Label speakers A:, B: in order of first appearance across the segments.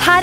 A: her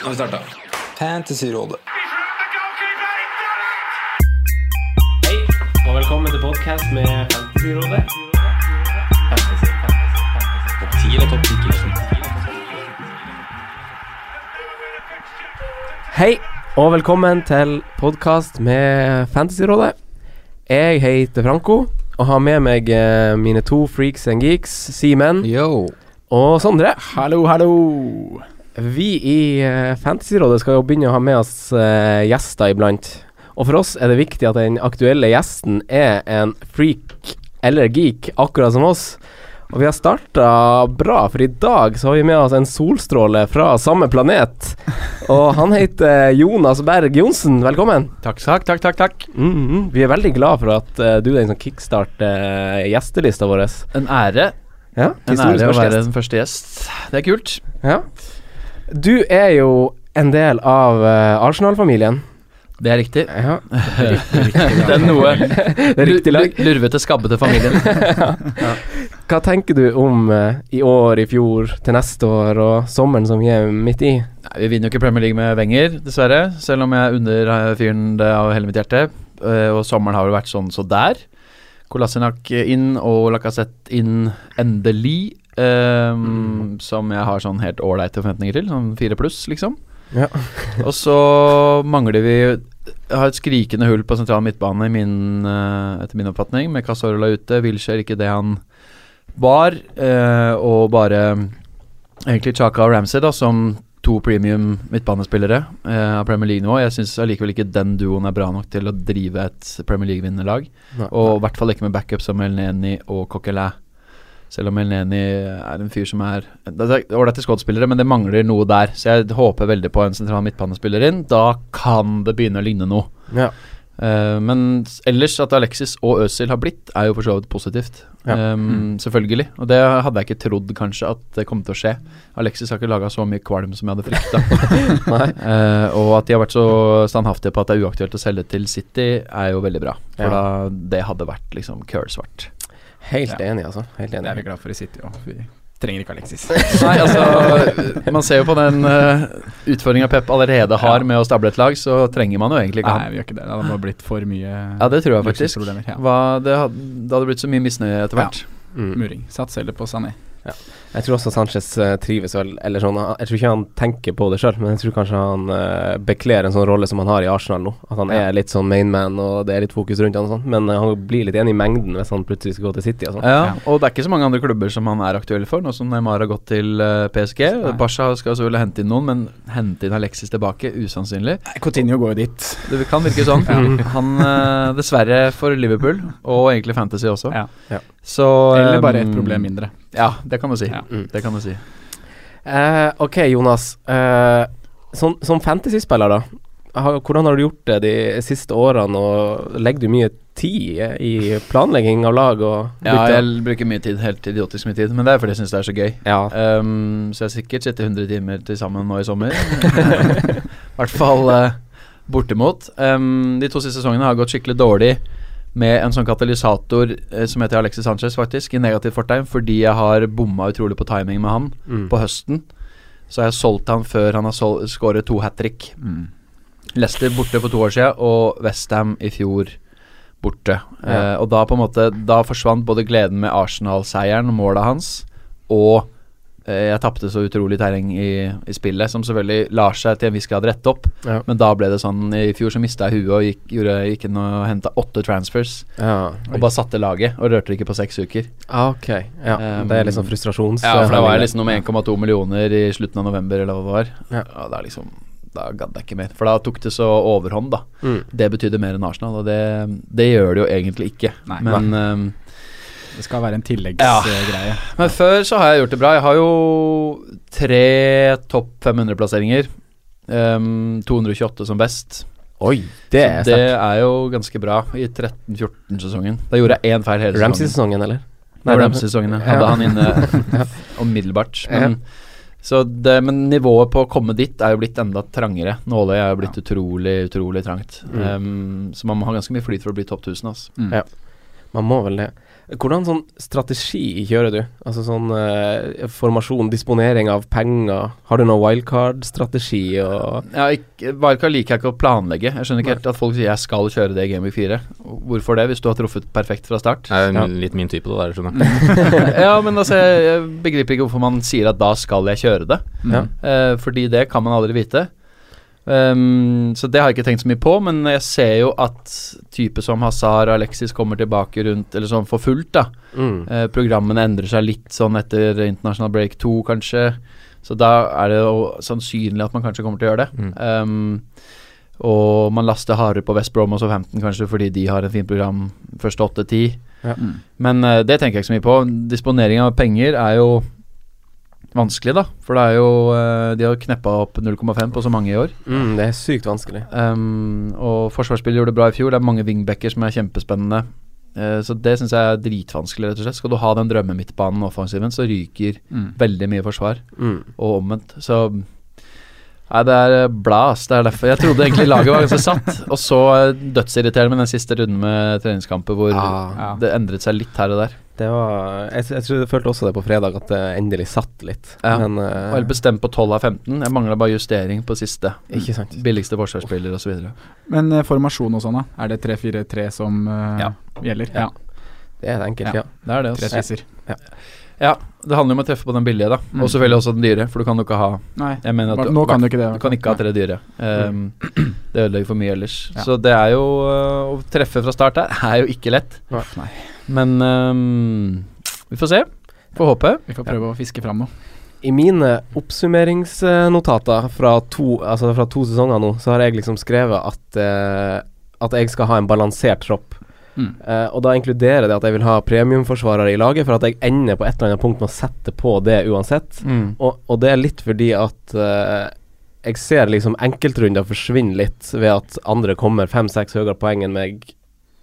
B: har vi starta. Fantasyrådet.
C: Hei, og velkommen til podcast med Fantasyrådet. Topp 10 eller topp 10 Hei, og velkommen til podcast med Fantasyrådet. Jeg heter Franco, og har med meg eh, mine to freaks and geeks, Simen
B: Yo.
C: og Sondre.
B: Hallo, hallo.
C: Vi i eh, Fantasyrådet skal jo begynne å ha med oss eh, gjester iblant. Og for oss er det viktig at den aktuelle gjesten er en freak eller geek, akkurat som oss. Og vi har starta bra, for i dag så har vi med oss en solstråle fra samme planet. Og han heter Jonas Berg Johnsen. Velkommen.
B: Takk, takk, takk, takk, takk.
C: Mhm. Vi er veldig glad for at eh, du er den som kickstarter eh, gjestelista vår.
B: En ære.
C: Ja,
B: En
C: historiens
B: ære å
C: første
B: være
C: gjest.
B: den første gjest. Det er kult.
C: Ja. Du er jo en del av eh, Arsenal-familien.
B: Det er riktig.
C: Ja.
B: Det er noe
C: Det er riktig lag.
B: lur- lurvete, skabbete familien.
C: Hva tenker du om eh, i år, i fjor, til neste år og sommeren som vi er midt i?
B: Nei, vi vinner jo ikke Premier League med Wenger, dessverre. Selv om jeg unner eh, fyren det av hele mitt hjerte. Eh, Og sommeren har vel vært sånn så der. Kolasinac inn og Lacassette inn endelig. eh, Som jeg har sånn helt ålreite forventninger til. Sånn fire pluss, liksom.
C: Ja.
B: og så mangler vi jeg har et skrikende hull på sentral midtbane, i min, eh, etter min oppfatning, med Casorla ute. Wilshere ikke det han var, eh, og bare egentlig Chaka og Ramsey, da, som to premium midtbanespillere eh, av Premier League-nivå. Jeg syns allikevel ikke den duoen er bra nok til å drive et Premier League-vinnende lag.
C: Nei.
B: Og i hvert fall ikke med backup som Elneni og Coquelin. Selv om Elneni er en fyr som er Det er ålreite skuespillere, men det mangler noe der. Så jeg håper veldig på en sentral midtbanespiller inn. Da kan det begynne å ligne noe.
C: Ja.
B: Eh, men s- ellers at Alexis og Øzil har blitt, er jo for så vidt positivt.
C: Ja.
B: Eh, Selvfølgelig. Og det hadde jeg ikke trodd kanskje at det kom til å skje. Alexis har ikke laga så mye kvalm som jeg hadde frykta.
C: Nei.
B: og at de har vært så standhaftige på at det er uaktuelt å selge til City, er jo veldig bra. For
C: Ja.
B: da, det hadde vært liksom kølsvart.
C: Helt enig, altså. Helt
D: Det er vi
C: enig.
D: glad for i City òg. Vi trenger ikke Alexis.
B: Nei, altså Man ser jo på den uh, utfordringa Pep allerede har med å stable et lag, så trenger man jo egentlig ikke
D: Nei,
B: han.
D: vi gjør ikke det. Det hadde blitt for mye
B: Ja, det tror jeg faktisk.
D: luksusproblemer, Ja.
B: Hva, det, hadde, det hadde blitt så mye misnøye etter
D: Ja.
B: hvert.
C: Mm.
D: Muring. Sats heller på Sané.
C: Jeg tror også Sanchez eh, trives vel, eller sånn. Jeg tror ikke han tenker på det sjøl, men jeg tror kanskje han eh, bekler en sånn rolle som han har i Arsenal nå. At han er litt sånn mainman, og det er litt fokus rundt han og sånn. Men eh, han blir litt enig i mengden hvis han plutselig skal gå til City og sånn.
B: Ja, og det er ikke så mange andre klubber som han er aktuell for, nå som Neymar har gått til eh, PSG. Pasha skal selvfølgelig hente inn noen, men hente inn Alexis tilbake, usannsynlig.
D: Coutinho går jo dit.
B: Det kan virke sånn. Han, eh, dessverre for Liverpool, og egentlig Fantasy også.
D: Ja.
C: Ja.
B: Så eh,
D: Eller bare ett problem mindre.
B: Ja, det kan du si.
D: Ja.
B: Det kan du si.
C: Eh, ok, Jonas. Eh, som som fantasyspiller, da. Har, hvordan har du gjort det de siste årene, og legger du mye tid eh, i planlegging av lag og
B: Ja,
C: bytter?
B: jeg bruker mye tid, helt idiotisk mye tid, men det er fordi jeg syns det er så gøy.
C: ja.
B: Ehm, så jeg har sikkert sittet 100 timer til sammen nå i sommer. I hvert fall eh, bortimot. Ehm, de to siste sesongene har gått skikkelig dårlig med en sånn katalysator eh, som heter Alexis Sanchez, faktisk, i negativt fortegn, fordi jeg har bomma utrolig på timing med han
C: Mm.
B: på høsten. Så har jeg solgt han før han har sol- skåret to hat trick. Leicester borte for to år siden, og Westham i fjor borte.
C: Ja.
B: Eh, og da på en måte Da forsvant både gleden med Arsenal-seieren, målet hans, og eh, eh, jeg tapte så utrolig terreng i, i spillet, som selvfølgelig lar seg til en viss grad rette opp.
C: Ja.
B: Men da ble det sånn I fjor så mista jeg huet og gikk, gjorde, gikk inn og henta åtte transfers.
C: Ja.
B: Og bare satte laget, og rørte det ikke på seks uker.
C: Ah, ok. Ja,
B: Um,
C: det er liksom frustrasjons...
B: Ja, for da var jeg liksom noe med 1,2 millioner i slutten av november, eller hva det var.
C: Ja.
B: Og da liksom Da gadd jeg ikke mer. For da tok det så overhånd, da.
C: Mm.
B: Det betydde mer enn Arsenal, og det, det gjør det jo egentlig ikke.
D: Nei.
B: Men um,
D: Det skal være en
B: Ja.
D: tilleggsgreie.
B: Men før så har jeg gjort det bra. Jeg har jo tre topp 500-plasseringer. Ehm, 228 som best.
C: Oi, det er
B: så det
C: sterkt.
B: er jo ganske bra i 13-14-sesongen. Da gjorde jeg én feil hele sesongen.
C: Ramsey-sesongen, eller?
B: Nei,
C: det-
B: Ramsey-sesongen ja. hadde
C: Ja.
B: han inne umiddelbart. Men, så det, men nivået på å komme dit er jo blitt enda trangere. Nåløyet er jo blitt utrolig, utrolig trangt.
E: Mm.
B: Ehm, så man må ha ganske mye flyt for å bli topp 1000, altså.
D: Mm.
C: Ja. Man må vel det. Hvordan sånn strategi kjører du? Altså sånn eh, formasjon, disponering av penger. Har du noe wildcard-strategi og
B: Ja, ikke, Varka liker jeg ikke å planlegge. Jeg skjønner ikke helt at folk sier jeg skal kjøre det i Game Week 4. Hvorfor det, hvis du har truffet perfekt fra start?
E: Det er jo litt min type, det der, skjønner jeg.
B: ja, men altså, jeg, jeg begriper ikke hvorfor man sier at da skal jeg kjøre det.
C: Ja.
B: Eh, fordi det kan man aldri vite. Ehm, så det har jeg ikke tenkt så mye på, men jeg ser jo at type som Hazar og Alexis kommer tilbake rundt, eller sånn for fullt, da.
C: mm.
B: Eh, programmene endrer seg litt sånn etter internasjonal break 2, kanskje. Så da er det jo sannsynlig at man kanskje kommer til å gjøre det.
C: Mm.
B: Um, og man laster hardere på West Brom og Southampton kanskje fordi de har en fint program første 8-10.
C: Ja.
B: Men eh, det tenker jeg ikke så mye på. Disponering av penger er jo vanskelig, da. For det er jo eh, De har kneppa opp 0,5 på så mange i år.
C: Mm, Det er sykt vanskelig.
B: Um, og forsvarsspiller gjorde det bra i fjor. Det er mange wingbacker som er kjempespennende. Eh, så det syns jeg er dritvanskelig, rett og slett. Skal du ha den drømmemidtbanen og offensiven, så ryker
D: Mm.
B: veldig mye forsvar,
C: Mm.
B: og omvendt. Så Nei, det er eh, bla, ass. Det er derfor. Jeg trodde egentlig laget var ganske satt, og så eh, dødsirriterende med den siste runden med treningskamper hvor
C: Ah.
B: det endret seg litt her og der.
C: Det var Jeg, jeg, tror jeg følte også det på fredag, at det endelig satt litt.
B: Ja.
C: Men
B: Og helt
C: eh,
B: bestemt på 12 av 15. Jeg mangla bare justering på siste.
C: Ikke sant.
B: Billigste forsvarsspiller osv.
D: Men eh, formasjon og sånn, da? Er det 3-4-3 som eh,
B: Ja.
D: gjelder? Ja.
C: Det er enkelt, ja.
D: Ja.
B: Det er det,
D: Tre
B: altså.
D: spisser.
B: Ja, det handler jo om å treffe på den billige, da.
D: Mm.
B: Og selvfølgelig også den dyre, for du kan jo ikke ha
D: Nei,
B: Jeg mener at
D: Hva- nå kan du ikke det.
B: Du kan ikke ha tre dyre. Ehm, det ødelegger for mye ellers.
D: Ja.
B: Så det er jo øh, Å treffe fra start her er jo ikke lett.
D: Uff, nei.
B: Men øhm, vi får se. Får håpe.
D: Vi får prøve å fiske fram noe.
C: I mine oppsummeringsnotater fra to, altså fra to sesonger nå, så har jeg liksom skrevet at, eh, at jeg skal ha en balansert tropp.
D: Mm.
C: Eh, og da inkluderer det at jeg vil ha premiumforsvarere i laget, for at jeg ender på et eller annet punkt med å sette på det uansett.
B: Mm.
C: Og, og det er litt fordi at eh, jeg ser liksom enkeltrunder forsvinne litt ved at andre kommer fem-seks høyere poeng enn meg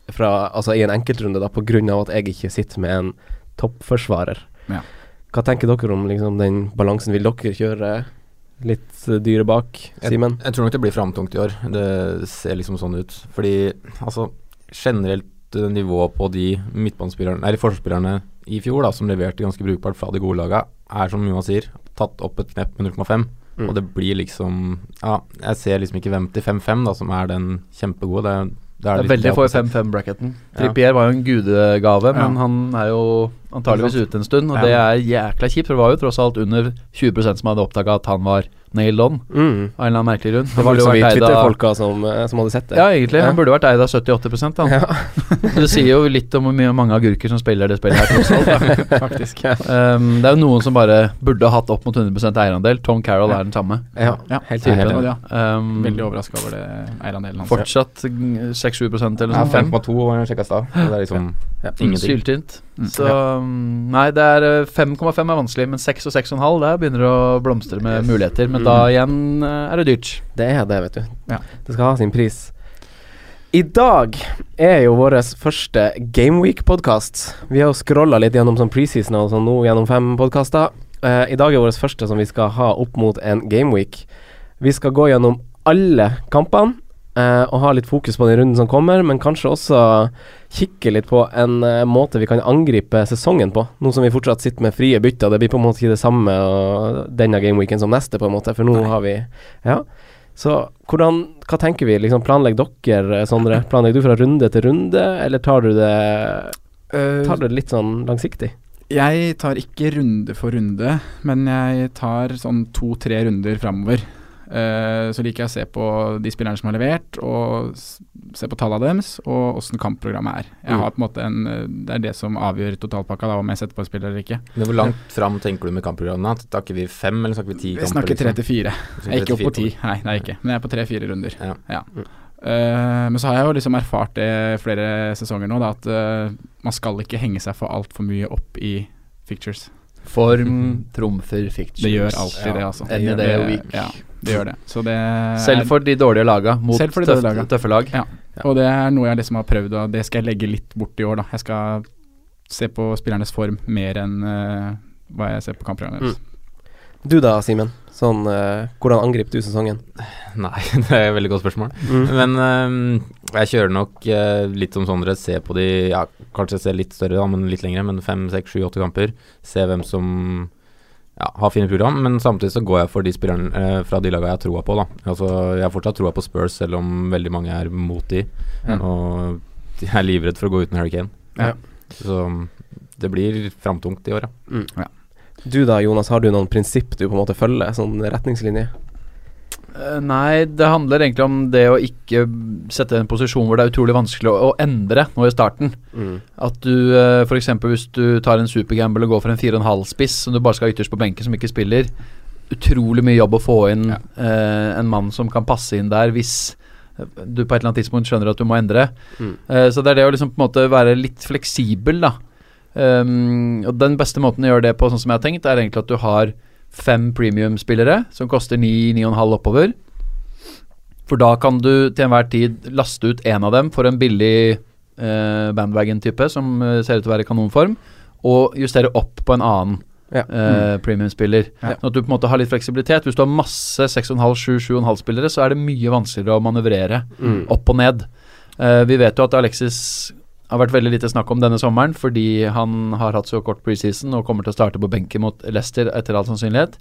C: fra, altså i en enkeltrunde, da, på grunn av at jeg ikke sitter med en toppforsvarer.
D: Ja.
C: Hva tenker dere om liksom, den balansen? Vil dere kjøre litt eh, dyre bak,
E: Jeg-
C: Simen?
E: Jeg tror nok det blir framtungt i år. Det ser liksom sånn ut. Fordi altså, generelt eh, nivå på de midtbanespillerne, eller forsvarsspillerne i fjor da, som leverte ganske brukbart fra de gode laga, er som Johan sier, tatt opp et knepp med 0,5.
C: Mm.
E: Og det blir liksom Ja, jeg ser liksom ikke hvem til 5-5 da, som er den kjempegode. Det, er- det er,
B: Det er
E: litt det
B: veldig få i
E: opposite.
B: 5-5-bracketen. Trippier var jo en gudegave, men
D: Ja.
B: han er jo antageligvis ute en stund, og
D: Ja.
B: det er jækla kjipt. For det var jo tross alt under 20 som hadde oppdaga at han var nailed on
C: Mm.
B: av en eller annen merkelig grunn.
C: Det
B: Han
C: var
B: burde
C: liksom vi
B: vært eid av-
C: Twitter-folka som, eh, som hadde sett det.
B: Ja, egentlig.
C: Ja.
B: Han burde vært eid av 70-80 han. det sier jo litt om hvor mye mange agurker som spiller det spillet her, tross alt. da.
D: Faktisk.
B: Um, det er jo noen som bare burde hatt opp mot 100 eierandel. Tom Carroll er den samme.
C: Ja,
D: Ja.
C: helt
D: Jeg er
C: tydelig.
D: helt enig, ja.
E: Mm.
B: Um,
D: Veldig overraska over det eierandelen hans.
B: fortsatt mm, 6-7 eller
E: Ja,
B: sånn. 5
E: 5,2 var jeg sjekka i eh, stad. Det er liksom
C: Ja.
E: ingenting.
B: Syltynt.
D: Mm.
B: Så um, Nei, det er eh, 5,5 er vanskelig, men 6 og 6,5 der begynner det å blomstre med muligheter.
D: Mm.
B: Men da igjen eh, er det dyrt.
C: Det er det, vet du.
D: Ja.
C: Det skal ha sin pris. I dag er jo vår første Gameweek-podkast. Vi har jo scrolla litt gjennom sånn preseason og sånn nå gjennom fem podkaster. Eh, I dag er vår første som vi skal ha opp mot en Gameweek. Vi skal gå gjennom alle kampene eh, og ha litt fokus på den runden som kommer, men kanskje også kikke litt på en eh, måte vi kan angripe sesongen på. Nå som vi fortsatt sitter med frie bytter. Det blir på en måte ikke det samme og denne Gameweeken som neste, på en måte, for nå har vi Ja. Så hvordan, hva tenker vi? Liksom planlegger dere, eh, Sondre? Eh, Planlegger du fra runde til runde, eller tar du det, tar du det litt sånn langsiktig?
D: Jeg tar ikke runde for runde, men jeg tar sånn to-tre runder framover. Eh, så liker jeg å se på de spillerne som har levert, og s- se på tallene deres, og åssen kampprogrammet er. Jeg
E: Mm.
D: har på en måte en, eh, Det er det som avgjør totalpakka, da, om jeg setter på en spiller eller ikke.
E: Men hvor langt fram tenker du med kampprogrammene? Snakker vi fem, eller snakker vi ti?
D: Vi
E: kamper,
D: snakker tre
E: liksom?
D: til fire.
E: Så
D: Jeg er ikke oppe på ti,
E: 3-4
D: nei, det er jeg ikke. men jeg er på tre-fire runder.
E: Ja. Mm.
D: Ja. Eh, men så har jeg jo liksom erfart det flere sesonger nå, da, at eh, man skal ikke henge seg for altfor mye opp i fictures.
B: Form trumfer fictions.
D: Mm. Det gjør alltid det, altså.
B: Any
D: Det-
B: day of week.
D: Ja, det gjør det. Så det
B: Selv for de dårlige laga mot
D: Selv for de
B: tøff,
D: dårlige laga.
B: tøffe lag.
D: Ja. Og det er noe jeg liksom har prøvd, og det skal jeg legge litt bort i år, da. Jeg skal se på spillernes form mer enn eh, hva jeg ser på kampprogrammet deres.
E: Mm.
C: Du da, Simen. Sånn, eh, hvordan angriper du sesongen?
E: Nei, det er et veldig godt spørsmål.
B: Mm.
E: Men øhm, jeg kjører nok øh, litt som Sondre, se på de ja, Kanskje se litt større, da, men litt lengre. Men fem, seks, sju, åtte kamper. Se hvem som ja, har fine program. Men samtidig så går jeg for de spillerne øh, fra de lagene jeg har troa på, da. Altså, jeg har fortsatt troa på Spurs, selv om veldig mange er mot de.
C: Ja.
E: Og jeg er livredd for å gå uten Harry Kane.
C: Ja.
E: Så det blir framtungt i år, ja.
C: Du da, Jonas. Har du noen prinsipp du på en måte følger? Sånn retningslinje?
B: Eh, Nei, det handler egentlig om det å ikke sette en posisjon hvor det er utrolig vanskelig å, å endre nå i starten. At du eh, for eksempel hvis du tar en supergamble og går for en 4,5-spiss som du bare skal ha ytterst på benken, som ikke spiller Utrolig mye jobb å få inn eh, en mann som kan passe inn der, hvis eh, du på et eller annet tidspunkt skjønner at du må endre.
C: Mm.
B: Eh, så det er det å liksom på en måte være litt fleksibel, da. Um, og den beste måten å gjøre det på, sånn som jeg har tenkt, er egentlig at du har fem premium-spillere som koster 9-9,5 oppover. For da kan du til enhver tid laste ut én av dem for en billig eh, bandwagon-type som eh, ser ut til å være i kanonform, og justere opp på en annen
C: Ja. Mm.
B: eh, premium-spiller.
D: Ja.
B: Sånn at du på en måte har litt fleksibilitet. Hvis du har masse 6,5-7-7,5-spillere, så er det mye vanskeligere å manøvrere
C: Mm.
B: opp og ned. Eh, vi vet jo at Alexis har vært veldig lite snakk om denne sommeren fordi han har hatt så kort preseason og kommer til å starte på benken mot Leicester etter all sannsynlighet.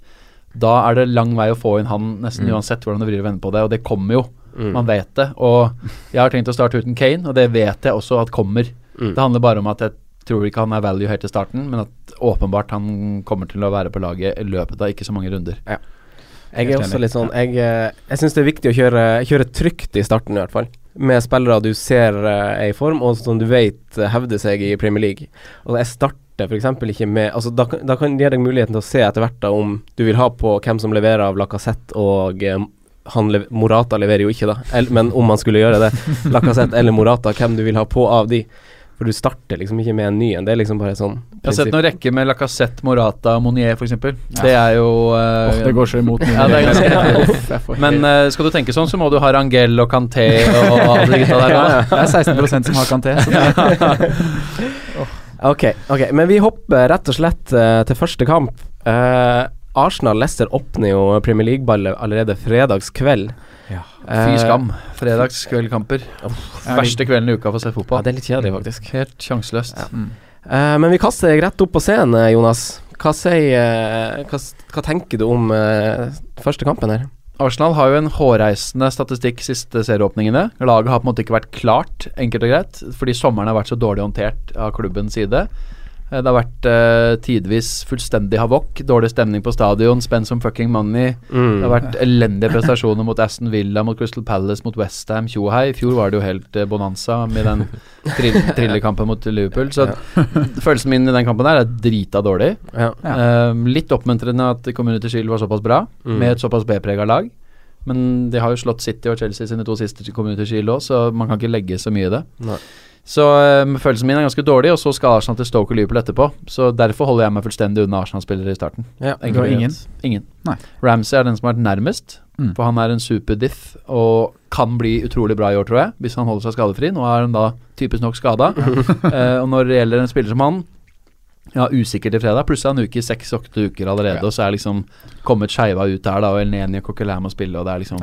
B: Da er det lang vei å få inn han nesten
E: Mm.
B: uansett hvordan du vrir og vender på det, og det kommer jo.
C: Mm.
B: Man vet det. Og jeg har tenkt å starte uten Kane, og det vet jeg også at kommer.
C: Mm.
B: Det handler bare om at jeg tror ikke han er value helt i starten, men at åpenbart han kommer til å være på laget i løpet av ikke så mange runder.
C: Jeg er
D: Helt
C: også
D: enig.
C: litt sånn Jeg, eh, jeg syns det er viktig å kjøre, kjøre trygt i starten, i hvert fall. Med spillere du ser eh, er i form, og som du vet eh, hevder seg i Premier League. Og jeg starter f.eks. ikke med altså, da, kan- da kan de gi deg muligheten til å se etter hvert da, om du vil ha på hvem som leverer av Lacassette og eh, han lev Morata leverer jo ikke, da. El men om han skulle gjøre det, Lacassette eller Morata, hvem du vil ha på av de. For du starter liksom ikke med en ny en. Det er liksom bare et sånn
B: Jeg har sett noen rekke med Lacassette, Morata og Monier f.eks. Det er jo eh,
D: Åh, det går så imot mine
B: Ja, det er ganske-
D: regler. Uff, jeg får-
B: Men eh, skal du tenke sånn, så må du ha Rangel og Kanté og alle de gutta der nå.
D: Ja, Det er 16 som har Kanté, så det er
C: Ok, ok, men vi hopper rett og slett eh, til første kamp. Eh, Arsenal-Leicester åpner jo Premier League-ballet allerede fredagskveld.
D: Ja.
C: Eh,
B: Fy skam. Fredagskveldkamper. Verste kvelden i uka for å se
C: Ja,
B: fotball.
C: det er litt kjedelig, faktisk.
B: Helt sjanseløst.
C: Eh, men vi kaster deg rett opp på scenen, eh, Jonas. Hva, sier, eh, hva, s- hva tenker du om eh, første kampen her?
B: Arsenal har jo en hårreisende statistikk siste serieåpningene. Laget har på en måte ikke vært klart, enkelt og greit, fordi sommeren har vært så dårlig håndtert av klubbens side. Eh, Det har vært eh, tidvis fullstendig havokk, dårlig stemning på stadion, spend som fucking money. Det har vært elendige prestasjoner mot Aston Villa, mot Crystal Palace, mot Westham, tjohei. I fjor var det jo helt eh, bonanza med den trill trillekampen mot Liverpool. Så følelsen min i den kampen her er drita dårlig.
C: Ja.
B: Ehm, litt oppmuntrende at Community Shield var såpass bra, med et såpass B-prega lag. Men de har jo slått City og Chelsea sine to siste til Community Shield òg, så man kan ikke legge så mye i det.
C: Nei.
B: Så ehm, følelsen min er ganske dårlig, og så skal Arsenal til Stoke og Liverpool etterpå. Så derfor holder jeg meg fullstendig unna Arsenal-spillere i starten.
C: Ja.
B: Enkelt og
D: Du har
B: greit. Ingen.
D: Nei.
B: Ramsey er den som har vært nærmest,
D: Mm.
B: for han er en superdiff og kan bli utrolig bra i år, tror jeg, hvis han holder seg skadefri. Nå er han da typisk nok skada. Eh, og når det gjelder en spiller som han, ja, usikker til fredag, pluss en uke i seks-åtte uker allerede, og så er liksom kommet skeiva ut der, da, og Elneni og Coquelin må spille, og det er liksom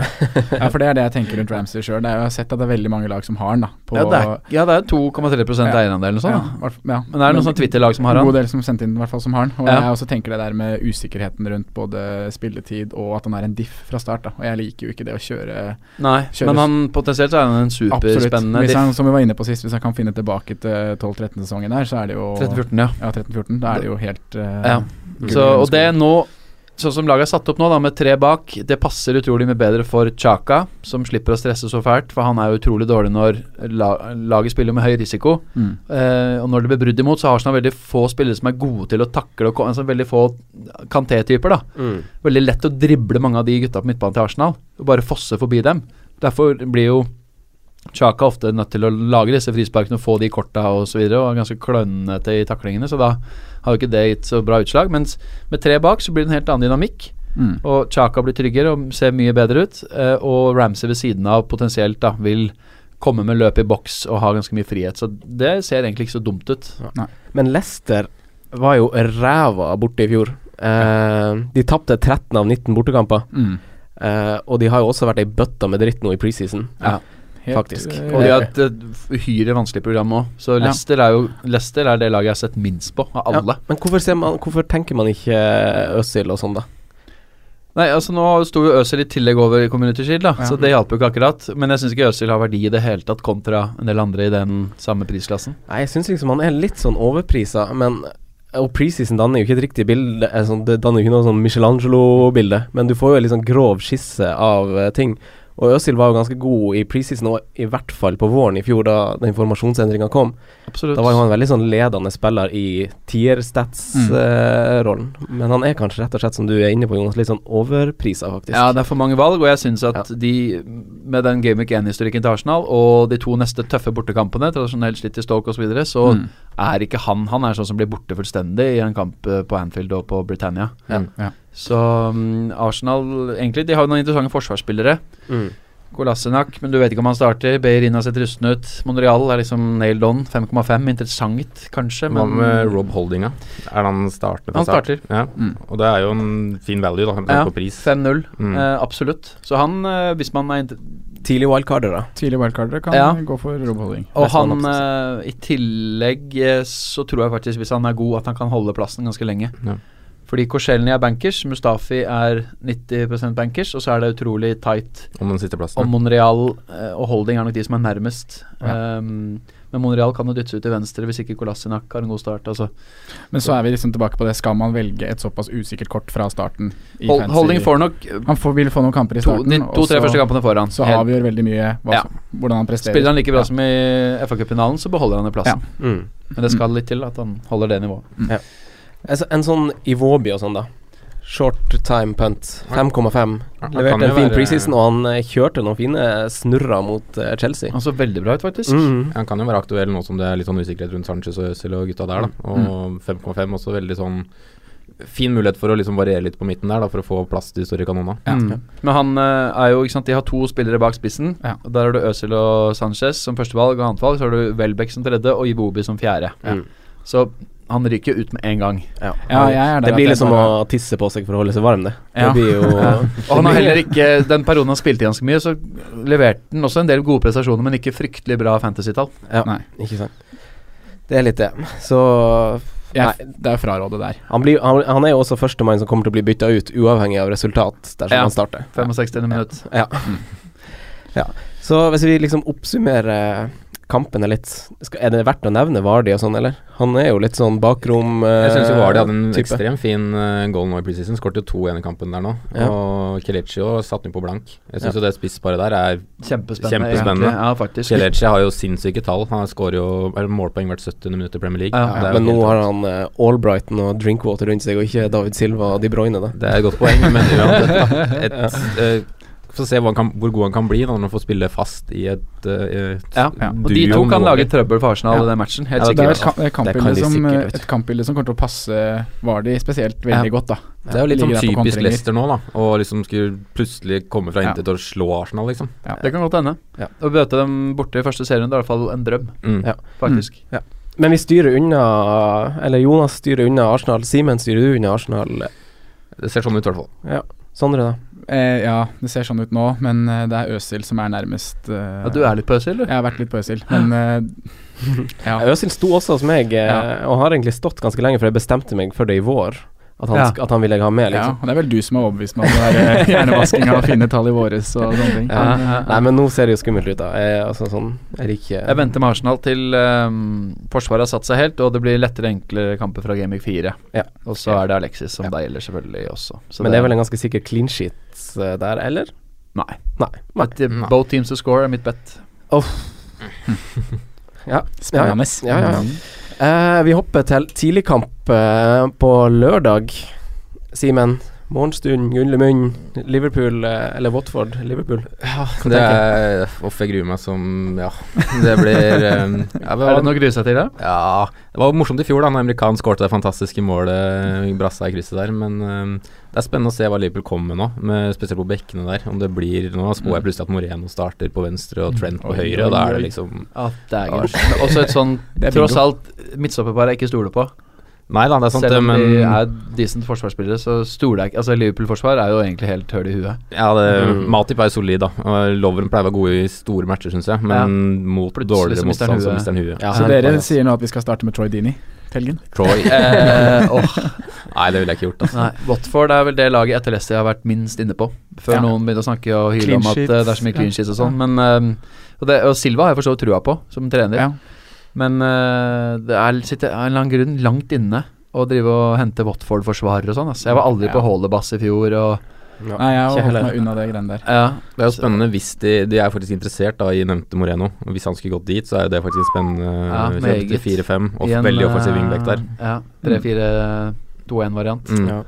D: Ja, for det er det jeg tenker rundt Ramsey sjøl. Jeg har sett at det er veldig mange lag som har den. da på,
B: Ja, det er, ja, det er 2,3 eierandel eller noe sånt.
D: sånn, Ja,
B: da.
D: hvert fall- ja.
B: Men det er noen sånne Twitter-lag som har
D: En
B: han.
D: god del som sendte inn, i hvert fall, som har den. Og
B: Ja.
D: jeg også tenker det der med usikkerheten rundt både spilletid og at han er en diff fra start. da Og jeg liker jo ikke det å kjøre
B: Nei,
D: Kjøres.
B: men han potensielt så er han en
D: Absolutt.
B: superspennende
D: Hvis
B: diff.
D: han, som vi var inne på sist, hvis han kan finne tilbake til 12-13-sesongen der, så er det jo
B: 13-14, ja.
D: Ja, 13-14. 13-14. Da er det jo helt eh,
B: Ja.
D: gull
B: Så,
D: i
B: og det nå Sånn som laget er satt opp nå, da med tre bak, det passer utrolig mye bedre for Chaka, som slipper å stresse så fælt, for han er jo utrolig dårlig når la laget spiller med høy risiko.
D: Mm.
B: Eh, og når det blir brudd imot, så har Arsenal veldig få spillere som er gode til å takle og ko- altså Veldig få kanté-typer, da.
C: Mm.
B: Veldig lett å drible mange av de gutta på midtbanen til Arsenal, og bare fosse forbi dem. Derfor blir jo Chaka ofte nødt til å lage disse frisparkene og få de korta og så videre, og er ganske klønete i taklingene, så da har jo ikke det gitt så bra utslag. Mens med tre bak så blir det en helt annen dynamikk,
D: Mm.
B: og Chaka blir tryggere og ser mye bedre ut, eh, og Ramsey ved siden av potensielt da vil komme med løp i boks og ha ganske mye frihet, så det ser egentlig ikke så dumt ut.
C: Men Leicester var jo ræva borte i fjor. Eh, de tapte 13 av 19 bortekamper.
D: Mm.
C: Eh, og de har jo også vært ei bøtta med dritt nå i preseason.
B: Ja.
D: Helt,
C: Faktisk.
D: eh,
B: Og de har et eh, uhyre vanskelig program òg, så
D: Ja.
B: Leicester er jo Leicester er det laget jeg har sett minst på av alle.
C: Ja, men hvorfor, ser man, hvorfor tenker man ikke eh, Øzil og sånn, da?
B: Nei, altså nå sto jo Øzil i tillegg over i Community Shield, da,
D: Ja.
B: så det hjalp jo ikke akkurat. Men jeg syns ikke Øzil har verdi i det hele tatt kontra en del andre i den samme prisklassen.
C: Nei, jeg syns liksom han er litt sånn overprisa, men og preseason danner jo ikke et riktig bilde, eh, sånn, det danner jo ikke noe sånn Michelangelo-bilde, men du får jo en litt sånn grov skisse av eh, ting. Og Øzil var jo ganske god i preseason, og i hvert fall på våren i fjor, da den formasjonsendringa kom.
B: Absolutt.
C: Da var jo han veldig sånn ledende spiller i tier-stats-rollen. Men han er kanskje rett og slett, som du er inne på, Jonas, litt sånn overprisa, faktisk.
B: Ja, det er for mange valg, og jeg syns at de, med den Game Week 1-historikken til Arsenal og de to neste tøffe bortekampene, tradisjonelt slitt i Stoke osv., så, videre, så
D: Mm.
B: er ikke han Han er sånn som blir borte fullstendig i en kamp eh, på Anfield og på Britannia.
C: Ja.
D: Ja.
B: Så mm, Arsenal Egentlig, de har jo noen interessante forsvarsspillere.
C: Mm.
B: Kolassenak, men du vet ikke om han starter. Beirina ser rusten ut. Monreal er liksom nailed on. 5,5. Interessant, kanskje,
E: Hva
B: men
E: med Rob Holdinga? Er han startende? fra
B: Han
E: start?
B: starter.
E: Ja.
D: Mm.
E: Og det er jo en fin value, da, med tanke
B: Ja,
E: på pris.
B: 5-0.
E: Mm.
B: Eh, absolutt. Så han, eh, hvis man er inter
C: Tidlig wildcarder, da.
D: Tidlig wildcardere kan
B: Ja.
D: gå for Rob Holding.
B: Og
C: Neste
B: han,
C: mann
B: eh, i tillegg eh, så tror jeg faktisk, hvis han er god, at han kan holde plassen ganske lenge.
E: Ja.
B: Fordi Korselny er bankers, Mustafi er 90 bankers, og så er det utrolig tight.
E: Om den siste
B: Og
E: plassen.
B: Monreal eh, og Holding er nok de som er nærmest. Um, men Monreal kan jo dyttes ut til venstre hvis ikke Kolasinak har en god start. Altså.
D: Men så er vi liksom tilbake på det. Skal man velge et såpass usikkert kort fra starten? i
B: Hol
D: fantasy?
B: Holding får nok eh,
D: Han får, vil få noen kamper i
B: to-
D: starten.
B: de
D: og
B: to-tre
D: så-
B: første kampene foran.
D: Så avgjør veldig mye hva,
B: Ja.
D: som- hvordan han presterer.
B: Spiller han like bra
D: Ja.
B: som i FA-cupfinalen, så beholder han den plassen.
C: Mm.
B: Men det skal litt til at han holder det nivået.
C: Altså, en sånn Iwobi og sånn, da. Short time punt. 5,5.
E: Han kan
C: Leverte
E: jo
C: en fin
E: være-
C: preseason, og han eh, kjørte noen fine snurrer mot eh, Chelsea.
B: Han så veldig bra ut, faktisk.
C: Mm.
E: Han kan jo være aktuell nå som det er litt sånn usikkerhet rundt Sanchez og Øzil og gutta der, da.
D: Mm.
E: Og 5,5 også veldig sånn fin mulighet for å liksom variere litt på midten der, da, for å få plass til de store kanonene.
B: Mm. Men han eh, er jo, ikke sant, de har to spillere bak spissen.
D: Ja.
B: Og Der har du Øzil og Sanchez som førstevalg og annetvalg. Så har du Welbeck som tredje og Iwobi som fjerde.
C: Mm.
B: Så han ryker jo ut med en gang.
C: Ja.
D: Ja, jeg er der
C: det
D: at
C: blir
D: jeg
C: liksom
D: bare-
C: å tisse på seg for å holde seg varm, det.
B: Ja.
C: Det blir jo
B: Og han har heller ikke Den perioden han spilte ganske mye, så leverte han også en del gode prestasjoner, men ikke fryktelig bra fantasy-tall.
C: ja,
D: Nei.
C: Ikke sant. Det er litt det. Så
D: Jeg, det er frarådet der.
C: han, blir, han, han er jo også førstemann som kommer til å bli bytta ut, uavhengig av resultat, dersom
B: Ja.
C: han starter.
B: 65. minutt.
C: Ja. ja. Så hvis vi liksom oppsummerer eh, kampene litt, skal, er det verdt å nevne Vardi og sånn, eller? Han er jo litt sånn bakrom
E: Jeg syns jo Vardi hadde en
C: eh, type.
E: ekstremt fin eh, goal nå i preseason. Skåret jo to i enekampen der nå.
C: Ja.
E: Og Kelechi òg satte den på blank. Jeg syns jo det spissparet der er
B: Kjempespennende.
E: Kjempespennende.
B: egentlig. Ja, faktisk.
E: Kelechi har jo sinnssyke tall. Han skårer jo eller målpoeng hvert 70. minutt i Premier League.
B: Ja,
E: Det er jo
C: Men nå
E: helt
C: har
E: rått.
C: han eh, Albrighton og Drinkwater rundt seg, og ikke David Silva og De Bruyne, da.
E: Det er et godt poeng, men uansett et, eh, Få se hva han kan, hvor god han kan bli da, når han får spille fast i et, eh, et
B: Ja.
D: Ja.
B: Og de
E: duo
B: to
E: med
B: kan lage
E: Walker.
B: trøbbel for
E: Ja.
B: Arsenal i den matchen. Helt
E: Ja,
D: Det er et,
B: sikkert.
D: ka- et
C: kan
D: kampbilde
C: de
D: som,
C: sikkert,
D: eh,
C: vet du.
D: et kampbilde som kommer til å passe Vardy spesielt veldig
B: Ja.
D: godt, da.
E: Det er jo litt sånn
D: Ligger der på
E: typisk
D: kontringer.
E: Leicester nå, da. Å liksom skulle plutselig komme fra
D: Ja.
E: intet og slå Arsenal, liksom.
B: Det kan godt hende.
C: Ja.
B: Å møte dem borte i første serien, det er i hvert fall en drøm,
E: Mm.
C: Ja.
B: faktisk.
C: Men vi styrer unna Eller Jonas styrer unna Arsenal. Simen styrer du unna Arsenal.
E: Det ser sånn ut, i hvert fall.
C: Sondre, da?
D: Eh, ja, det ser sånn ut nå, men eh, det er Øsil som er nærmest eh,
B: Ja, du er litt pøsig, du.
D: Jeg har vært litt på Øsil, men eh, ja.
C: Øzil sto også hos meg, eh, og har egentlig stått ganske lenge, for jeg bestemte meg for det i vår. At han,
D: Ja.
C: sk- at han ville jeg ha med,
E: sånn.
D: Ja,
C: liksom.
D: og det er vel du som er overbevist om at det er hjernevaskinga og fine tall i våres og sånne ting.
C: Ja.
D: Men, eh,
C: Nei, men nå ser det jo skummelt ut, da. Jeg, altså, sånn, jeg liker
B: Jeg venter med Arsenal til ehm, Forsvaret har satt seg helt, og det blir lettere, enklere kamper fra Gamevik 4.
C: Ja.
B: Og så er det Alexis som da gjelder, selvfølgelig også. Så
C: Men det er vel en ganske sikker clean sheet eh, der, eller?
B: Nei.
C: Nei. Nei.
B: At, eh, Both teams to score er mitt bet.
C: Ja.
D: Spennende.
C: Ja, ja, ja.
B: Mm.
C: Eh, vi hopper til tidligkamp uh, på lørdag. Simen, morgenstund, Gullemund, Liverpool eh, eller Watford? Liverpool. Hva
E: Det
C: tenker du?
E: er Uff, jeg gruer meg som Ja, det blir um, ja,
B: Er det noe å grue seg til, da?
E: Ja, det var jo morsomt i fjor da Når amerikaneren skåret det fantastiske målet i Brassa i krysset der Men eh, det er spennende å se hva Liverpool kommer med nå med, Spesielt på bekkene der Om det blir Nå spår jeg plutselig at Moreno starter på venstre Og Trent på
D: Mm. Oi,
E: høyre
D: oi,
E: Og da er det
D: oi.
E: liksom
B: Ja, dægen. Men Også et sånn
D: Det er bingo.
B: tross alt midtstopperpar jeg ikke stoler på.
E: Nei da, det er sant
B: Selv om
E: men,
B: de er decent forsvarsspillere, så stoler jeg ikke Altså, Liverpool-forsvar er jo egentlig helt høl i huet.
E: Ja, det,
C: Mm.
E: Matip er jo solid da Og Lovren pleier å være god i store matcher synes jeg Men mot
B: Plutselig så
E: dårligere
B: mister han
E: motstand så
B: huet.
E: mister han huet
D: Så dere sier nå at vi skal starte med Troy Dini Telgen?
E: Troy
B: Eh, åh,
E: Nei, det ville jeg ikke gjort altså.
B: nei. Watford er vel det laget etter Leicester jeg har vært minst inne på. Før
D: Ja.
B: noen begynte å snakke og hyle
D: Clean
B: om at eh, det er så mye
D: sheets,
B: clean
D: ja.
B: sheets og sånn. Men eh, og, det, og Silva har jeg for så vidt trua på, som trener.
D: Ja.
B: Men eh, det er, sitter av en eller annen grunn langt inne å drive og hente Watford-forsvarere og sånn. ass. Jeg var aldri på
D: Ja.
B: Holdebass i fjor og
C: Ja.
D: Nei,
C: Ikke
D: jeg har holdt
C: heller.
D: meg unna det greiene der.
B: ja.
E: Det er jo spennende hvis de, de er faktisk interessert da, i nevnte Moreno. Og Hvis han skulle gått dit, så er jo det faktisk en spennende
B: Ja,
E: kjøp
B: meget.
E: til 4-5. Og
B: i en,
E: veldig offensiv
B: eh,
E: wingback der.
B: Ja. 3-4-2-1-variant.
E: Mm.
C: Ja.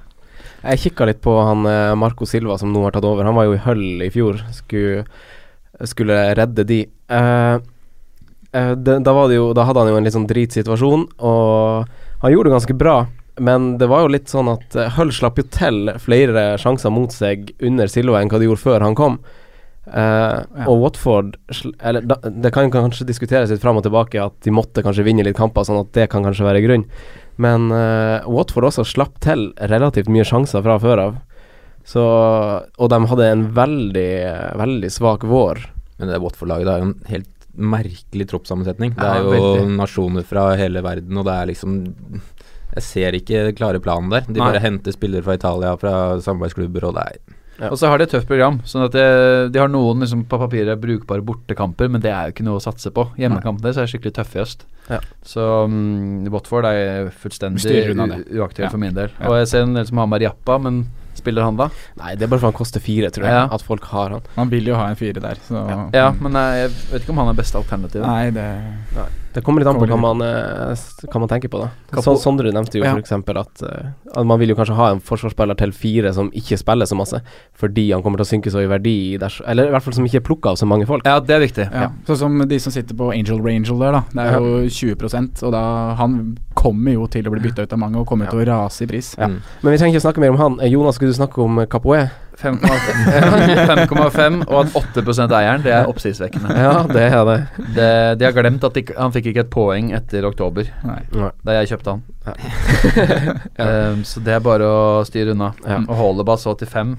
C: Jeg kikka litt på han eh, Marco Silva som nå har tatt over. Han var jo i Hull i fjor. Skulle, skulle redde de. Eh, eh, det, da, var det jo, da hadde han jo en litt sånn dritsituasjon, og han gjorde det ganske bra. Men det var jo litt sånn at eh, Hull slapp jo til flere sjanser mot seg under Silva enn hva de gjorde før han kom. Eh, Og Watford sl- eller, da, Det kan jo kanskje diskuteres litt fram og tilbake at de måtte kanskje vinne litt kamper, sånn at det kan kanskje være grunn. Men eh, Watford også slapp til relativt mye sjanser fra før av. Så, og de hadde en veldig, veldig svak vår.
E: Men det Watford-laget det er jo en helt merkelig troppssammensetning. Det
B: Ja,
E: er jo
B: veldig.
E: nasjoner fra hele verden, og det er liksom Jeg ser ikke den klare planen der. De
B: Nei.
E: bare henter spillere fra Italia, fra samarbeidsklubber, og det er
C: Ja.
B: Og så har de et tøft program. Sånn at det, De har noen liksom, på papiret brukbare bortekamper, men det er jo ikke noe å satse på. Hjemmekampene deres er skikkelig tøffe i øst.
C: Ja.
B: Så mm, Watford er fullstendig
D: Styrer unna det.
B: u- uaktuell
D: Ja.
B: for min del.
D: Ja.
B: Og jeg ser en del som har Mariappa, men spiller han da?
C: Nei, det er bare for han koster fire, tror jeg.
B: Ja.
C: At folk har han.
D: Man vil jo ha en fire der, så
B: Ja, men jeg, jeg vet ikke om han er beste alternativet.
D: Nei, det
C: Det kommer litt an på hva
D: Kommer litt-
C: man, eh, s- hva man tenker på, da.
B: Kapo-
C: Så, Sondre nevnte jo
D: Ja.
C: for eksempel at, eh, at man vil jo kanskje ha en forsvarsspiller til fire som ikke spiller så masse, fordi han kommer til å synke så i verdi, ders, eller i hvert fall som ikke er plukka av så mange folk.
B: Ja, det er viktig.
D: ja. Sånn som de som sitter på Angel Rangel der, da. Det er jo 20 og da Han kommer jo til å bli bytta ut av mange og kommer til å rase i pris.
C: Ja. Men vi trenger ikke å snakke mer om han. Eh, Jonas, skulle du snakke om eh, Capoe?
B: 5,5 og at 8 eieren, det er oppsiktsvekkende.
C: Ja, det er det.
B: Det, de har glemt at de, ikke- han fikk ikke et poeng etter oktober,
D: Nei.
B: da jeg kjøpte han. Ehm, så det er bare å styre unna.
C: Ja.
B: Og Holdebass 85.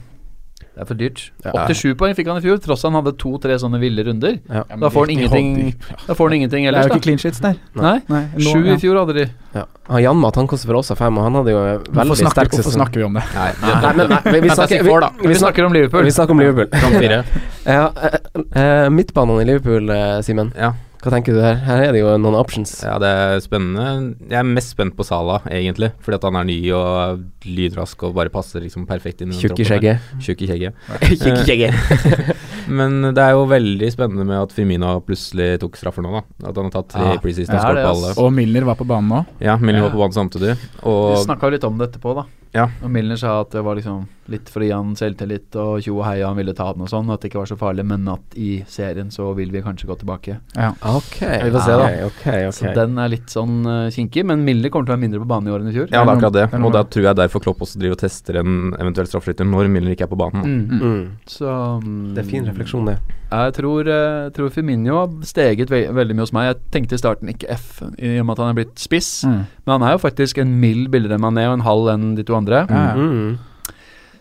B: Det er for dyrt.
C: Ja.
B: 87 poeng fikk han i fjor, tross han hadde to-tre sånne ville runder.
C: Ja.
D: Ja, men
B: Da får han
D: de- de
B: ingenting,
D: holdt
B: da får han ingenting
D: Det er
B: ellers,
D: jo ikke
B: da.
D: clean sheets der.
B: Nei.
D: Nei, nå-
B: Sju
D: ja.
B: i fjor hadde de.
C: Ja. Han Janmat han koster for oss av fem, og han hadde jo en
D: Hvorfor
C: veldig
D: snakker,
C: sterk
D: hvorfor
C: sesong.
D: snakker vi om det?
E: Nei,
C: Nei, men nei, vi, vi, snakker, vi, vi,
B: Vi
C: snakker,
B: snakker om Liverpool.
C: vi snakker om Liverpool.
E: Kamp fire.
C: Ja, eh, eh, midtbanen i Liverpool, eh, Simen.
E: Ja.
C: Hva tenker du her? Her er det jo noen options.
E: Ja, det er spennende. Jeg er mest spent på Sala, egentlig. Fordi at han er ny og er lynrask og bare passer liksom perfekt inn i den
C: Tjukk i
E: troppen der.
C: skjegget.
E: Tjukk i skjegget.
C: Tjukk i skjegget.
E: Men det er jo veldig spennende med at Firmino plutselig tok straffer nå, da. At han har tatt tre
B: Ja,
E: preseason og
B: det er
E: skåret
B: det,
E: på
B: ass.
E: alle.
D: Og Milner var på banen nå.
E: Ja, Milner var
B: Ja.
E: på banen samtidig.
B: Vi
E: Og
B: snakka litt om det etterpå, da.
E: Ja.
B: Og Milner sa at det var liksom litt for å gi han selvtillit og tjo og hei, han ville ta den og sånn. At det ikke var så farlig, men at i serien så vil vi kanskje gå tilbake.
C: Ok.
B: Vi får se, da.
C: ok, ok, ok.
B: Så den er litt sånn eh, kinkig, men Milner kommer til å være mindre på banen i år enn i fjor.
E: ja, det er akkurat det.
D: Det er noe
E: Og da
D: med-
E: tror jeg derfor Klopp også driver og tester en eventuell straffeskytter når Milner ikke er på banen.
B: Mm.
C: Mm.
B: Så mm,
C: Det er fin refleksjon, det.
B: Jeg tror, eh, tror Firmino har steget ve veldig mye hos meg. Jeg tenkte i starten ikke F, i og med at han er blitt spiss.
D: Mm.
B: Men han er jo faktisk en mild billigere enn Mané og en halv enn de to andre.
D: Ja, ja.
C: Mm.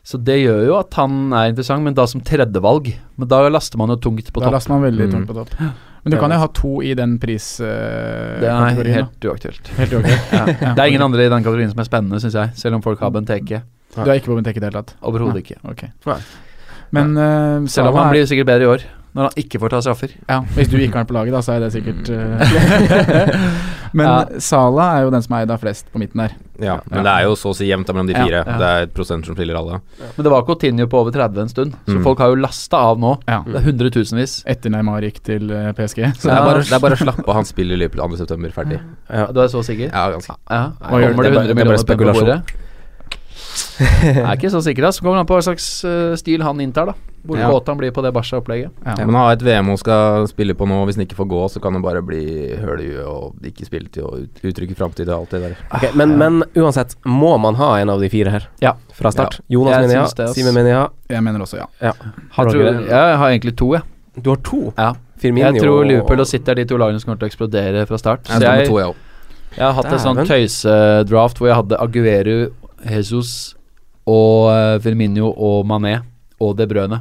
B: Så det gjør jo at han er interessant, men da som tredjevalg. Men da laster man jo tungt på
D: Da
B: topp.
D: laster man veldig
E: Mm.
D: tungt på topp. Men du kan jo ha to i den pris... eh,
B: Det er helt uaktuelt.
D: Helt uaktuelt.
B: ja.
D: Ja.
B: Det er ingen andre i den kategorien som er spennende, syns jeg. Selv om folk har Benteke.
D: Du er ikke på Benteke i det hele tatt?
B: Overhodet
D: Nei,
B: ikke.
D: ok.
B: Nei.
D: Men eh,
B: Selv om
D: Salah
B: han
D: er-
B: blir sikkert bedre i år, når han ikke får ta straffer.
D: Ja, Hvis du ikke har den på laget, da, så er det sikkert
E: Mm.
D: eh, Men
B: Ja.
D: Sala er jo den som er eid av flest på midten der.
E: Ja, men det er jo så å si jevnt da mellom de
D: Ja,
E: fire.
D: ja.
E: Det er et prosent som skiller alle.
B: Men det var Coutinho på over 30 en stund, så
E: Mm.
B: folk har jo lasta av nå.
D: Ja.
B: Det er hundretusenvis.
D: Etter Neymar gikk til eh, PSG.
E: Så det, er bare, det er bare å slappe av. Han spiller i Liverpool 2. september, ferdig.
B: Du er så sikker?
E: Ja, ganske.
B: Ja.
E: Hva gjør du? Det er
B: Kommer det
E: bare-
B: 100
E: det er bare
B: millioner penger på
E: spekulasjon.
B: bordet? Jeg er ikke så sikker, ass. Kommer an på hva slags eh, stil han inntar, da. Hvor
E: Ja.
B: kåt han blir på det Barca-opplegget.
D: Ja.
E: Men ha et VM hun skal spille på nå. Hvis den ikke får gå, så kan den bare bli høl i huet og ikke spille til å ut- uttrykke framtid og alt det der.
C: Ok, men, men uansett, må man ha en av de fire her
B: Ja.
C: fra start?
E: Ja.
C: Jonas
B: Jeg
C: mener
B: syns det,
C: ja,
B: ass.
C: Simen mener ja.
D: Jeg mener også ja.
C: ja.
B: Jeg, tror, jeg har egentlig to, jeg.
C: Du har to?
B: Ja.
C: Firmino
B: Jeg tror Liverpool og City er de to lagene som kommer til å eksplodere fra start.
E: Jeg
B: Så
E: står med
B: jeg,
E: to, jeg òg.
B: jeg har hatt en sånn
C: Dæven.
B: tøysedraft hvor jeg hadde Aguero, Jesus og eh, Firmino og Mané og De Brøne.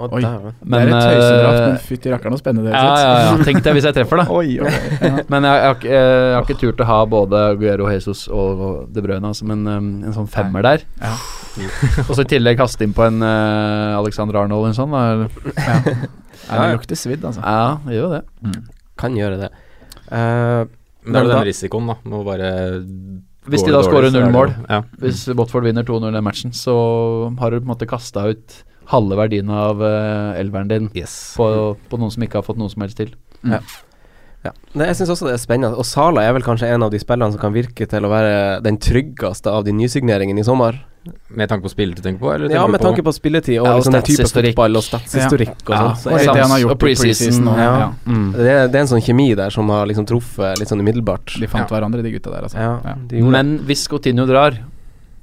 C: Å,
D: Oi.
C: dæven.
D: det er et tøysedraft,
B: eh,
D: men fytti rakkeren så spennende det
B: ja,
D: ser ut.
B: ja, ja. Tenk deg hvis jeg treffer, da.
D: Oi, oi.
B: Men jeg, jeg, har ikke- eh, jeg har ikke turt å ha både Aguero, Jesus og De Brøne, altså, men eh, en sånn femmer der.
D: Ja.
B: Og så i tillegg kaste inn på en eh, Alexander Arnold eller en sånn. Da. eller-
D: Ja, det lukter svidd, altså.
B: Ja, det gjør jo det.
C: Kan gjøre det. Eh,
E: Men det er jo
C: da-
E: den risikoen, da. Må bare
B: Hvis
E: går
B: de
E: det
B: da
E: dårlig,
B: scorer
E: så er det jo-
B: null mål.
E: Ja. Mm.
B: Hvis Watford vinner 2-0 i den matchen, så har du på en måte kasta ut halve verdien av uh, elveren din
E: Yes.
B: på, på noen som ikke har fått noe som helst til.
C: Ja. Nei, jeg syns også det er spennende. Og Sala er vel kanskje en av de spillerne som kan virke til å være den tryggeste av de nysigneringene i sommer.
E: Med tanke på spillet du tenker på, eller?
C: Ja,
E: tenker du
C: med
E: på-
C: tanke på spilletid og,
B: Ja, og
C: liksom den type
B: statshistorikk.
C: fotball og statshistorikk og
B: Ja.
C: sånn. Så
D: Og
C: er
D: litt
B: Sams-
D: det han har
B: og
D: gjort i preseason.
B: preseason,
D: og-
C: ja.
D: Ja.
C: det, det er, det er en sånn kjemi der som har liksom truffet litt sånn umiddelbart.
D: De fant hverandre, de gutta der, altså.
C: Ja,
D: Ja.
C: de gjorde det.
B: Men hvis Coutinho drar,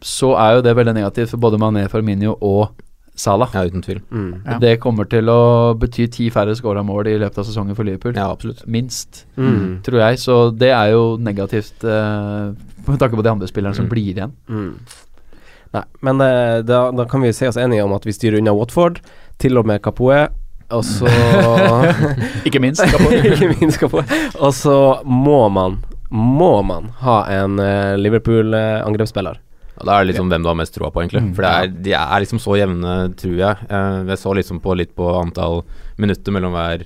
B: så er jo det veldig negativt for både Mané, Firmino og Salah.
E: Ja, uten tvil.
C: Mm.
D: Ja.
B: Det kommer til å bety ti færre scora mål i løpet av sesongen for Liverpool.
E: Ja, absolutt.
B: Minst,
C: Mm.
B: tror jeg. Så det er jo negativt eh, med tanke på de andre spillerne som blir igjen.
C: Mm. Nei, men eh, da, da kan vi se oss enige om at vi styrer unna Watford, til og med Kapoe, og så
B: Ikke minst.
C: Ikke minst Kapoe. Og så må man, må man ha en eh, Liverpool-angrepsspiller.
E: Og da er det liksom hvem du har mest troa på, egentlig.
D: Mm.
E: For det er, de er liksom så jevne, tror jeg. Eh, jeg så liksom på litt på antall minutter mellom hver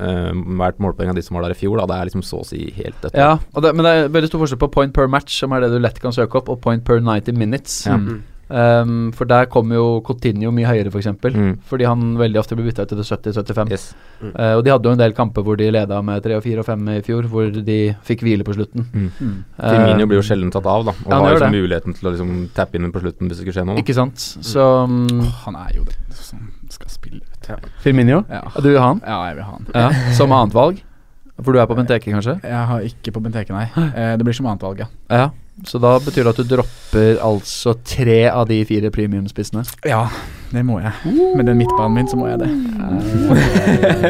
E: eh, hvert målpoeng av de som var der i fjor. Da. Det er liksom så å si helt dødt.
B: Ja, og det, men det er veldig stor forskjell på point per match, som er det du lett kan søke opp, og point per 90 minutes.
E: Ja.
B: Um, for der kommer jo Coutinho mye høyere, f.eks. For eksempel,
E: Mm.
B: Fordi han veldig ofte blir bytta ut til det 70-75.
E: Yes.
B: Eh, og de hadde jo en del kamper hvor de leda med 3 og 4 og 5 i fjor, hvor de fikk hvile på slutten.
E: Mm.
D: Mm.
B: Eh,
E: Firmino blir jo sjelden tatt av, da. Og
B: Ja, han
E: har
B: gjør
E: liksom muligheten til å liksom tappe inn på slutten hvis det skulle skje noe. Da.
B: Ikke sant?
E: Mm.
B: Så um,
D: Han er jo den som skal spille, vet du.
B: Firmino?
D: Ja.
B: Du vil ha han?
D: ja, jeg vil ha han.
B: Ja. Som annet valg? For du er på Benteke, kanskje?
D: Jeg har ikke på Benteke, nei. Eh, Det blir som annet valg, ja.
B: Ja. Så da betyr det at du dropper altså tre av de fire premiumspissene.
D: Ja, det må jeg. Med den midtbanen min, så må jeg det.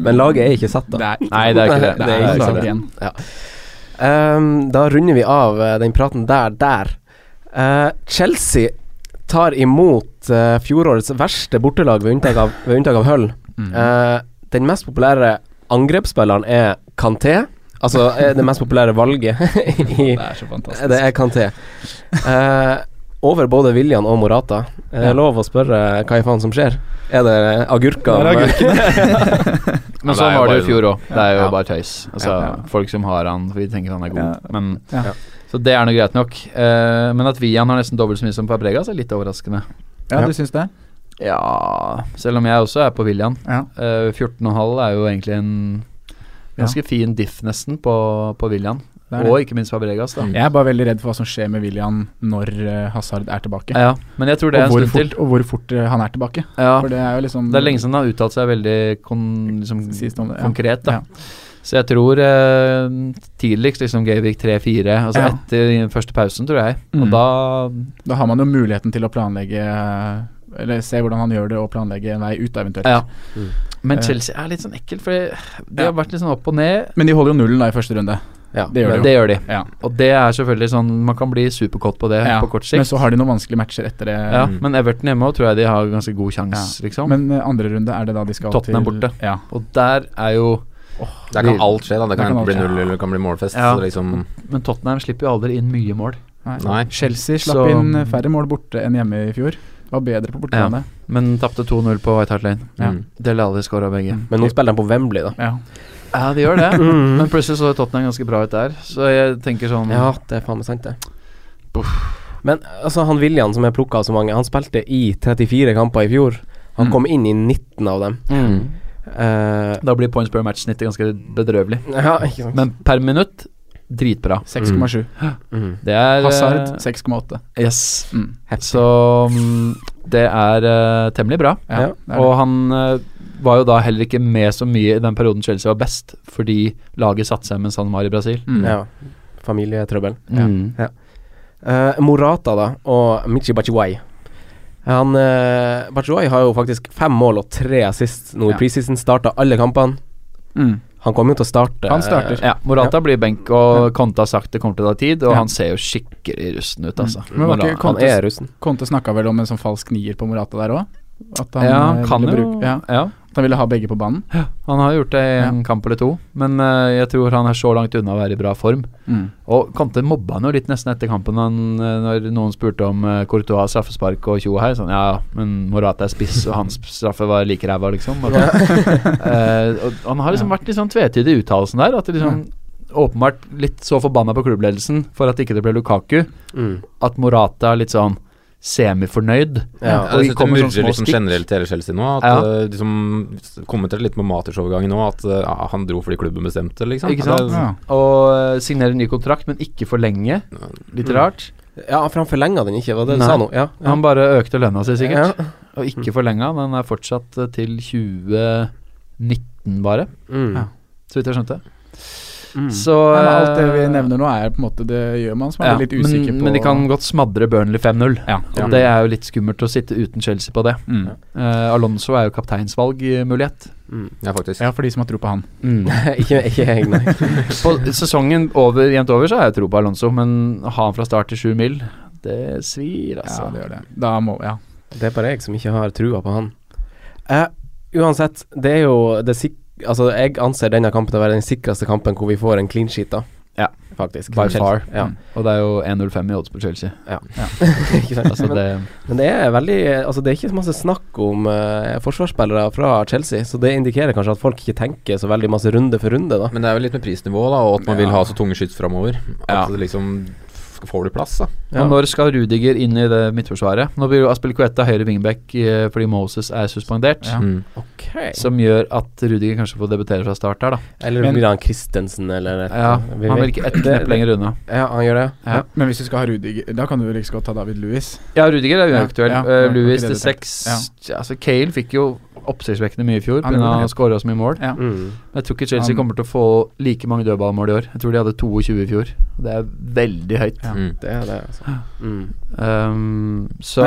C: Men laget er ikke satt, da.
D: Nei,
B: Nei, det er ikke det.
D: det er
B: ikke
D: ikke
B: det.
D: sant igjen.
C: Ehm, da runder vi av eh, den praten der, der. Eh, Chelsea tar imot eh, fjorårets verste bortelag ved unntak av, ved unntak av Hull.
D: Mm.
C: Eh, den mest populære angrepsspilleren er Kanté. Altså eh, det mest populære valget i
D: Det er så fantastisk.
C: Det er Kanté. Eh, over både William og Morata. Er det lov å spørre hva i faen som skjer? Er det agurker?
D: Det er
B: Men
E: Ja,
B: sånn
E: det er jo
B: var det jo i
E: bare-
B: fjor òg. Det er jo
E: Ja.
B: bare tøys. Altså,
D: Ja, ja.
B: Folk som har han, vi tenker han er god.
D: Ja.
B: Men,
D: Ja.
B: Så det er nå greit nok. Eh, men at Vian har nesten dobbelt så mye som Fabregas, er litt overraskende.
D: Ja, du syns det?
B: Ja Selv om jeg også er på William.
D: Ja.
B: Eh, 14,5 er jo egentlig en ganske fin diff, nesten, på, på William.
D: Det er det.
B: Og ikke minst Fabregas, da.
D: Jeg er bare veldig redd for hva som skjer med William når eh, Hazard er tilbake.
B: Ja, men jeg tror det
D: og,
B: er
D: hvor
B: en stund
D: fort,
B: til.
D: og hvor fort eh, han er tilbake.
B: Ja.
D: For det er jo liksom
B: Det er lenge siden han har uttalt seg veldig kon, liksom,
D: Sist om det, ja.
B: konkret. Da.
D: Ja.
B: Så jeg tror eh, tidligst liksom Gavik 3-4, altså
D: Ja.
B: etter den første pausen, tror jeg.
D: Mm.
B: Og da
D: Da har man jo muligheten til å planlegge eh, Eller se hvordan han gjør det, og planlegge en vei ut, da, eventuelt.
B: Ja.
C: Mm.
B: Men
D: Eh.
B: Chelsea er litt sånn ekkelt, for de
D: Ja.
B: har vært litt sånn opp og ned.
D: Men de holder jo nullen da i første runde.
C: Ja,
D: det gjør
B: men
D: de jo.
B: det gjør de.
D: Ja.
B: Og det er selvfølgelig sånn Man kan bli superkåt på det
D: Ja,
B: på kort sikt.
D: Men så har de noen vanskelige matcher etter det.
B: ja,
E: Mm.
B: men Everton hjemme også tror jeg de har ganske god sjanse, liksom.
D: Men eh, andre runde er det da de skal
B: Tottenham
D: til
B: borte.
D: Ja.
B: Og der er jo
E: Der kan alt skje, da. Det
D: Der
E: kan
D: kan
E: enten
D: alt
E: bli
D: skje.
E: null eller det kan bli målfest.
B: Ja.
E: Så liksom
B: Men Tottenham slipper jo aldri inn mye mål.
E: Nei.
D: Chelsea slapp
B: Så-
D: inn eh, færre mål borte enn hjemme i fjor. Var bedre på
B: Ja.
D: bortebane.
B: Men tapte 2-0 på White Hart Lane. Mm.
D: Ja. Mm.
B: Dele Alli skåra begge.
C: Men nå spiller de på Wembley, da.
D: Ja.
B: Ja, de gjør det.
D: Mm.
B: Men plutselig så Tottenham ganske bra ut der. Så jeg tenker sånn
C: Ja, det er faen meg sant, det. Men altså, han William som er plukka av så mange, han spilte i 34 kamper i fjor. Han kom inn i 19 av dem.
B: mm.
C: Eh,
B: Da blir points per match-snittet ganske bedrøvelig.
C: ja, ikke sant.
B: Men per minutt dritbra.
D: 6,7.
B: Det er eh,
D: Mm. Hazard 6,8.
B: Yes.
D: Mm.
B: Så mm, det er eh, temmelig bra.
D: Ja,
C: Ja.
D: det er
B: Og han eh, var jo da heller ikke med så mye i den perioden Chelsea var best, fordi laget satte seg mens han var i Brasil.
D: det. Mm.
C: ja. Familietrøbbel.
D: Ja.
C: Eh, Morata da og Michi Bachiwai. Han eh, Batshuayi har jo faktisk fem mål og tre assist nå i
D: Ja.
C: preseason. Starta alle kampene.
D: Mm.
C: Han kommer jo til å starte.
D: Han starter.
B: Ja, Morata blir benk, og Conte har sagt det kommer til å ta tid, og han ser jo skikkelig rusten ut, altså.
D: Mm. Men var ikke
B: Morata-
C: Han
D: Conte,
C: er russen.
D: Conte snakka vel om en sånn falsk nier på Morata der òg? At han,
B: ja,
D: eh,
B: kan
D: ville
B: jo
D: bruke- ja,
B: ja.
D: at han ville ha begge på banen?
B: Han har gjort det i en kamp eller to, men eh, jeg tror han er så langt unna å være i bra form.
D: Mm.
B: Og Conte mobba han jo litt nesten etter kampen han, eh, når noen spurte om eh, Courtois straffespark og tjo her. Sånn ja, men Morata er spiss, og hans straffe var like ræva, liksom. Og, eh, og han har liksom vært litt sånn tvetydig i uttalelsen der. At det liksom åpenbart litt så forbanna på klubbledelsen for at ikke det ble Lukaku,
C: Mm.
B: at Morata er litt sånn semifornøyd.
C: Ja.
E: Ja, jeg synes det
B: kommer sånne
E: murrer
B: små
E: liksom
B: stikk.
E: generelt til hele Chelsea nå. At
B: Ja.
E: eh, liksom Kommenterte litt på Maters-overgangen nå, at eh, ja, han dro fordi klubben bestemte, liksom.
B: Ikke sant?
E: Det,
D: Ja.
B: Og eh, signere ny kontrakt, men ikke for lenge. Litt rart.
D: Mm.
C: Ja, for han forlenga den ikke, var det du
B: Nei.
C: sa nå? Ja. ja.
B: Han bare økte lønna si, sikkert.
C: Ja.
B: Og ikke forlenga. Den er fortsatt eh, til 2019, bare.
C: Mm.
D: Ja.
B: Så vidt jeg skjønte.
C: Mm.
B: Så
D: Nei, men alt det vi
B: eh,
D: nevner nå, er på en måte det gjør man som er
B: ja,
D: litt usikker
B: men,
D: på
B: men de kan godt smadre Burnley 5-0.
D: Ja.
B: Og Det er jo litt skummelt å sitte uten Chelsea på det.
D: Mm.
B: Eh, Alonso er jo kapteinsvalgmulighet. Mm.
E: ja, faktisk.
D: ja, for de som har tro på han.
C: Mm. ikke, ikke jeg, nei.
B: På sesongen over, jevnt over så har jeg tro på Alonso, men å ha han fra start til sju mil, det svir,
D: Ja,
B: altså.
D: det gjør det. Da må Ja.
C: Det er bare jeg som ikke har trua på han. Eh, uansett, det er jo det sik Altså, jeg anser denne kampen til å være den sikreste kampen hvor vi får en clean sheet, da.
B: Ja.
C: Faktisk.
B: By
C: Chelsea.
B: far.
C: Ja.
B: Mm. Og det er jo 1-0-5 i odds på Chelsea.
C: ikke sant?
B: Altså,
C: men,
B: det,
C: men det er veldig Altså, det er ikke så masse snakk om eh, forsvarsspillere fra Chelsea, så det indikerer kanskje at folk ikke tenker så veldig masse runde for runde, da.
E: Men det er jo litt med prisnivået, da, og at man vil ha så tunge skyts framover. At
B: Ja.
E: det liksom f- får du plass, da.
C: Ja.
B: Og når skal Rudiger inn i det midtforsvaret? Nå blir jo Aspilicueta høyre wingback eh, fordi Moses er suspendert.
D: Ja.
E: Mm.
C: Ok.
B: Som gjør at Rudiger kanskje får debutere fra start her, da.
C: Eller
D: Men-
C: blir han Christensen, eller et,
B: Ja,
C: vi
B: Han
C: vet-
B: virker ett knepp lenger unna.
C: Ja, han gjør det.
B: Ja.
D: Men hvis du skal ha Rudiger, da kan du jo like så godt ta David Louis.
B: Ja, Rudiger er
D: Ja,
B: uaktuell.
D: ja,
B: Eh,
D: det var
B: Louis
D: ikke
B: til
D: det du
B: seks ja, Altså, Kale fikk jo oppsiktsvekkende mye i fjor
D: Han
B: pga.
D: gjorde
B: å
D: det.
B: skåre så mye mål.
D: Ja.
C: Mm.
B: Men jeg tror ikke Chelsea
D: Han-
B: kommer til å få like mange dødballmål i år. Jeg tror de hadde 22 i fjor. Det er veldig høyt.
D: Ja.
E: Mm.
C: Det er det, altså. Mm.
B: Um, så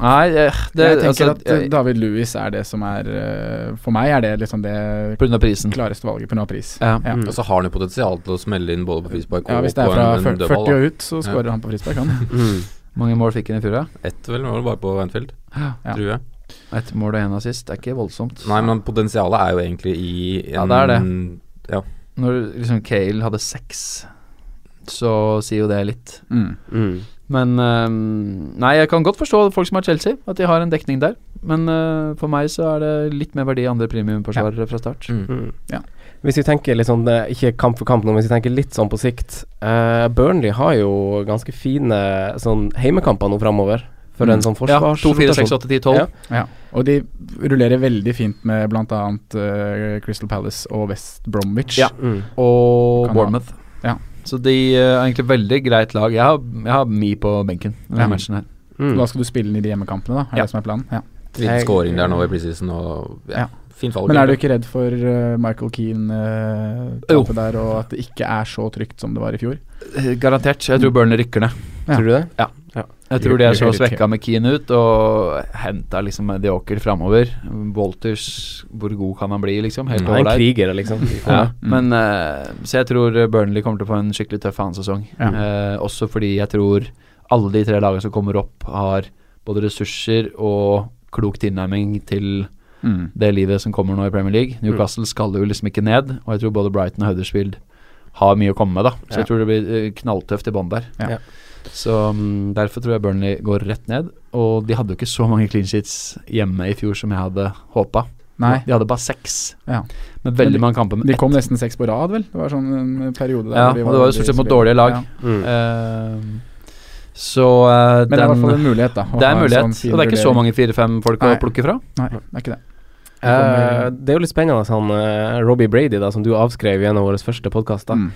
B: Nei, eh, det
D: jeg tenker
B: altså,
D: at eh, David Louis er det som er eh, For meg er det liksom det
B: Pga. prisen.
D: klareste valget på noe pris.
B: Ja.
D: Ja.
C: Mm.
E: Og så har han jo potensial til å smelle inn både på frispark og
D: Ja, Hvis det er
E: på
D: fra
E: en, en
D: 40
E: dødball. da.
D: 40 og ut, så skårer han på frispark, han.
C: Mm.
B: Mange mål fikk han i fjor, ja?
E: Ett vel, var det bare på Anfield?
D: Ja.
E: Tror jeg.
B: Ett mål og én assist. Det er ikke voldsomt.
E: Nei, men potensialet er jo egentlig i en,
B: Ja, det er det.
E: Ja.
B: Når liksom Kale hadde seks, så sier jo det litt.
D: Mm.
C: Mm.
B: Men ehm, Nei, jeg kan godt forstå folk som har Chelsea, at de har en dekning der. Men eh, for meg så er det litt mer verdi i andre premiumforsvarere fra start.
E: Mm.
D: Ja.
C: Hvis vi tenker litt sånn, eh, ikke kamp for kamp nå, men hvis vi tenker litt sånn på sikt eh, Burnley har jo ganske fine sånn heimekamper nå framover, for
D: Mm.
C: en sånn
B: Ja,
C: forsvars...
B: 2, 4, 6, 8, 10, 12.
C: Ja.
D: Ja. Og de rullerer veldig fint med bl.a. Uh, Crystal Palace og West Bromwich.
B: Ja.
C: Mm.
B: Og
D: Kan ha.
B: Bournemouth.
D: Ja.
B: Så de eh, er egentlig veldig greit lag. Jeg har, jeg har Mi på benken. i denne
D: Ja.
B: matchen her.
C: Mm.
D: Da skal du spille den i de hjemmekampene, da? Er
B: Ja.
D: det som er planen? Ja.
E: Liten
C: Jeg-
E: scoring der nå i preseason, og ja.
D: Ja.
E: fint valg.
D: Men er du
E: egentlig.
D: ikke redd for eh,
B: Jo.
D: Michael Keane-tapet der, og at det ikke er så trygt som det var i fjor?
B: Eh, Garantert. Jeg tror Burnley rykker ned.
D: Ja.
C: Tror du det?
B: Ja. Jeg tror de er så svekka med Keane ut, og henta liksom Medioker framover. Wolters, hvor god kan han bli, liksom? Helt
C: Mm.
B: over
C: Han er en
B: der.
C: kriger, liksom.
B: ja,
C: Mm.
B: men, eh, så jeg tror Burnley kommer til å få en skikkelig tøff fanesesong. Eh, også fordi jeg tror alle de tre lagene som kommer opp, har både ressurser og klok tilnærming til
D: Mm.
B: det livet som kommer nå i Premier League. Newcastle skal jo liksom ikke ned, og jeg tror både Brighton og Huddersfield har mye å komme med, da. Så
C: Ja.
B: jeg tror det blir eh, knalltøft i bånn der.
C: Ja.
B: Så mm, derfor tror jeg Burnley går rett ned. Og de hadde jo ikke så mange clean sheets hjemme i fjor som jeg hadde håpa.
D: Nei.
B: De hadde bare seks.
D: Ja.
B: Med veldig
D: Men de-
B: mange kamper. med
D: De
B: ett
D: kom nesten seks på rad, vel? Det var sånn en periode der.
B: ja,
D: hvor
B: og
D: de
B: det var jo
D: veldig
B: stort sett mot
D: solide.
B: dårlige lag.
D: Ja.
C: Mm.
B: Eh, så eh,
D: Men det er
B: den-
D: i hvert fall en mulighet, da, å
B: Det er
D: ha
B: en
D: en
B: mulighet,
D: sånn fin
B: og det er ikke så
D: vurdering.
B: mange fire-fem folk
D: Nei.
B: å plukke fra.
D: Nei, det er ikke det.
C: Eh, det er jo litt spennende, han eh, Robbie Brady, da, som du avskrev i en av våre første podkaster.
B: Mm.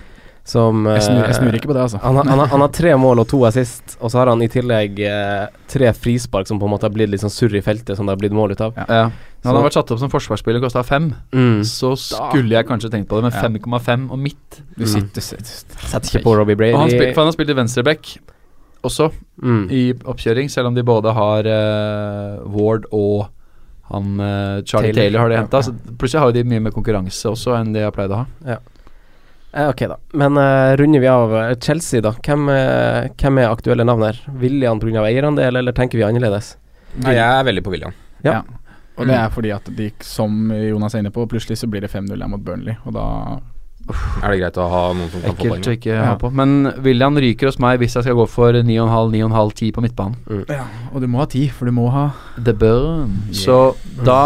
C: Som
D: Mm. Jeg snur,
C: eh,
D: jeg snur ikke på det, altså.
C: Han, har- han, har- han har tre mål og to assist, og så har han i tillegg eh, tre frispark som på en måte har blitt litt sånn surr i feltet, som det har blitt mål ut av.
B: Ja. Hadde han vært satt opp som forsvarsspiller og kosta fem,
C: Mm.
B: så skulle jeg kanskje tenkt på det, men
C: Ja.
B: 5,5 og midt
D: Du
C: Mm.
D: sitter- Setter
C: ikke på Robbie Brady.
B: Og han spil, for han har spilt i venstreback også,
C: Mm.
B: i oppkjøring, selv om de både har eh, Ward og han eh, Charlie
C: Taylor.
B: Taylor, har de henta.
C: Ja.
B: Plutselig har jo de mye mer konkurranse også enn de har pleid å ha.
C: Ja. Eh, ok, da. Men eh, runder vi av eh, Chelsea, da. Hvem, eh, hvem er aktuelle navn her? William pga. eierandel, eller tenker vi annerledes?
E: Nei, jeg er veldig på William.
C: Ja.
D: Ja. Og det er fordi at de, som Jonas er inne på, plutselig så blir det 5-0 her mot Burnley, og da
E: Er det greit å ha noen som kan få
B: Ekkelt å
E: poeng?
B: ikke ha på. Men William ryker hos meg hvis jeg skal gå for 9,5, 9,5, 10 på midtbanen.
C: Mm.
D: Ja, og du må ha ti, for du må ha
B: The Burn. Så da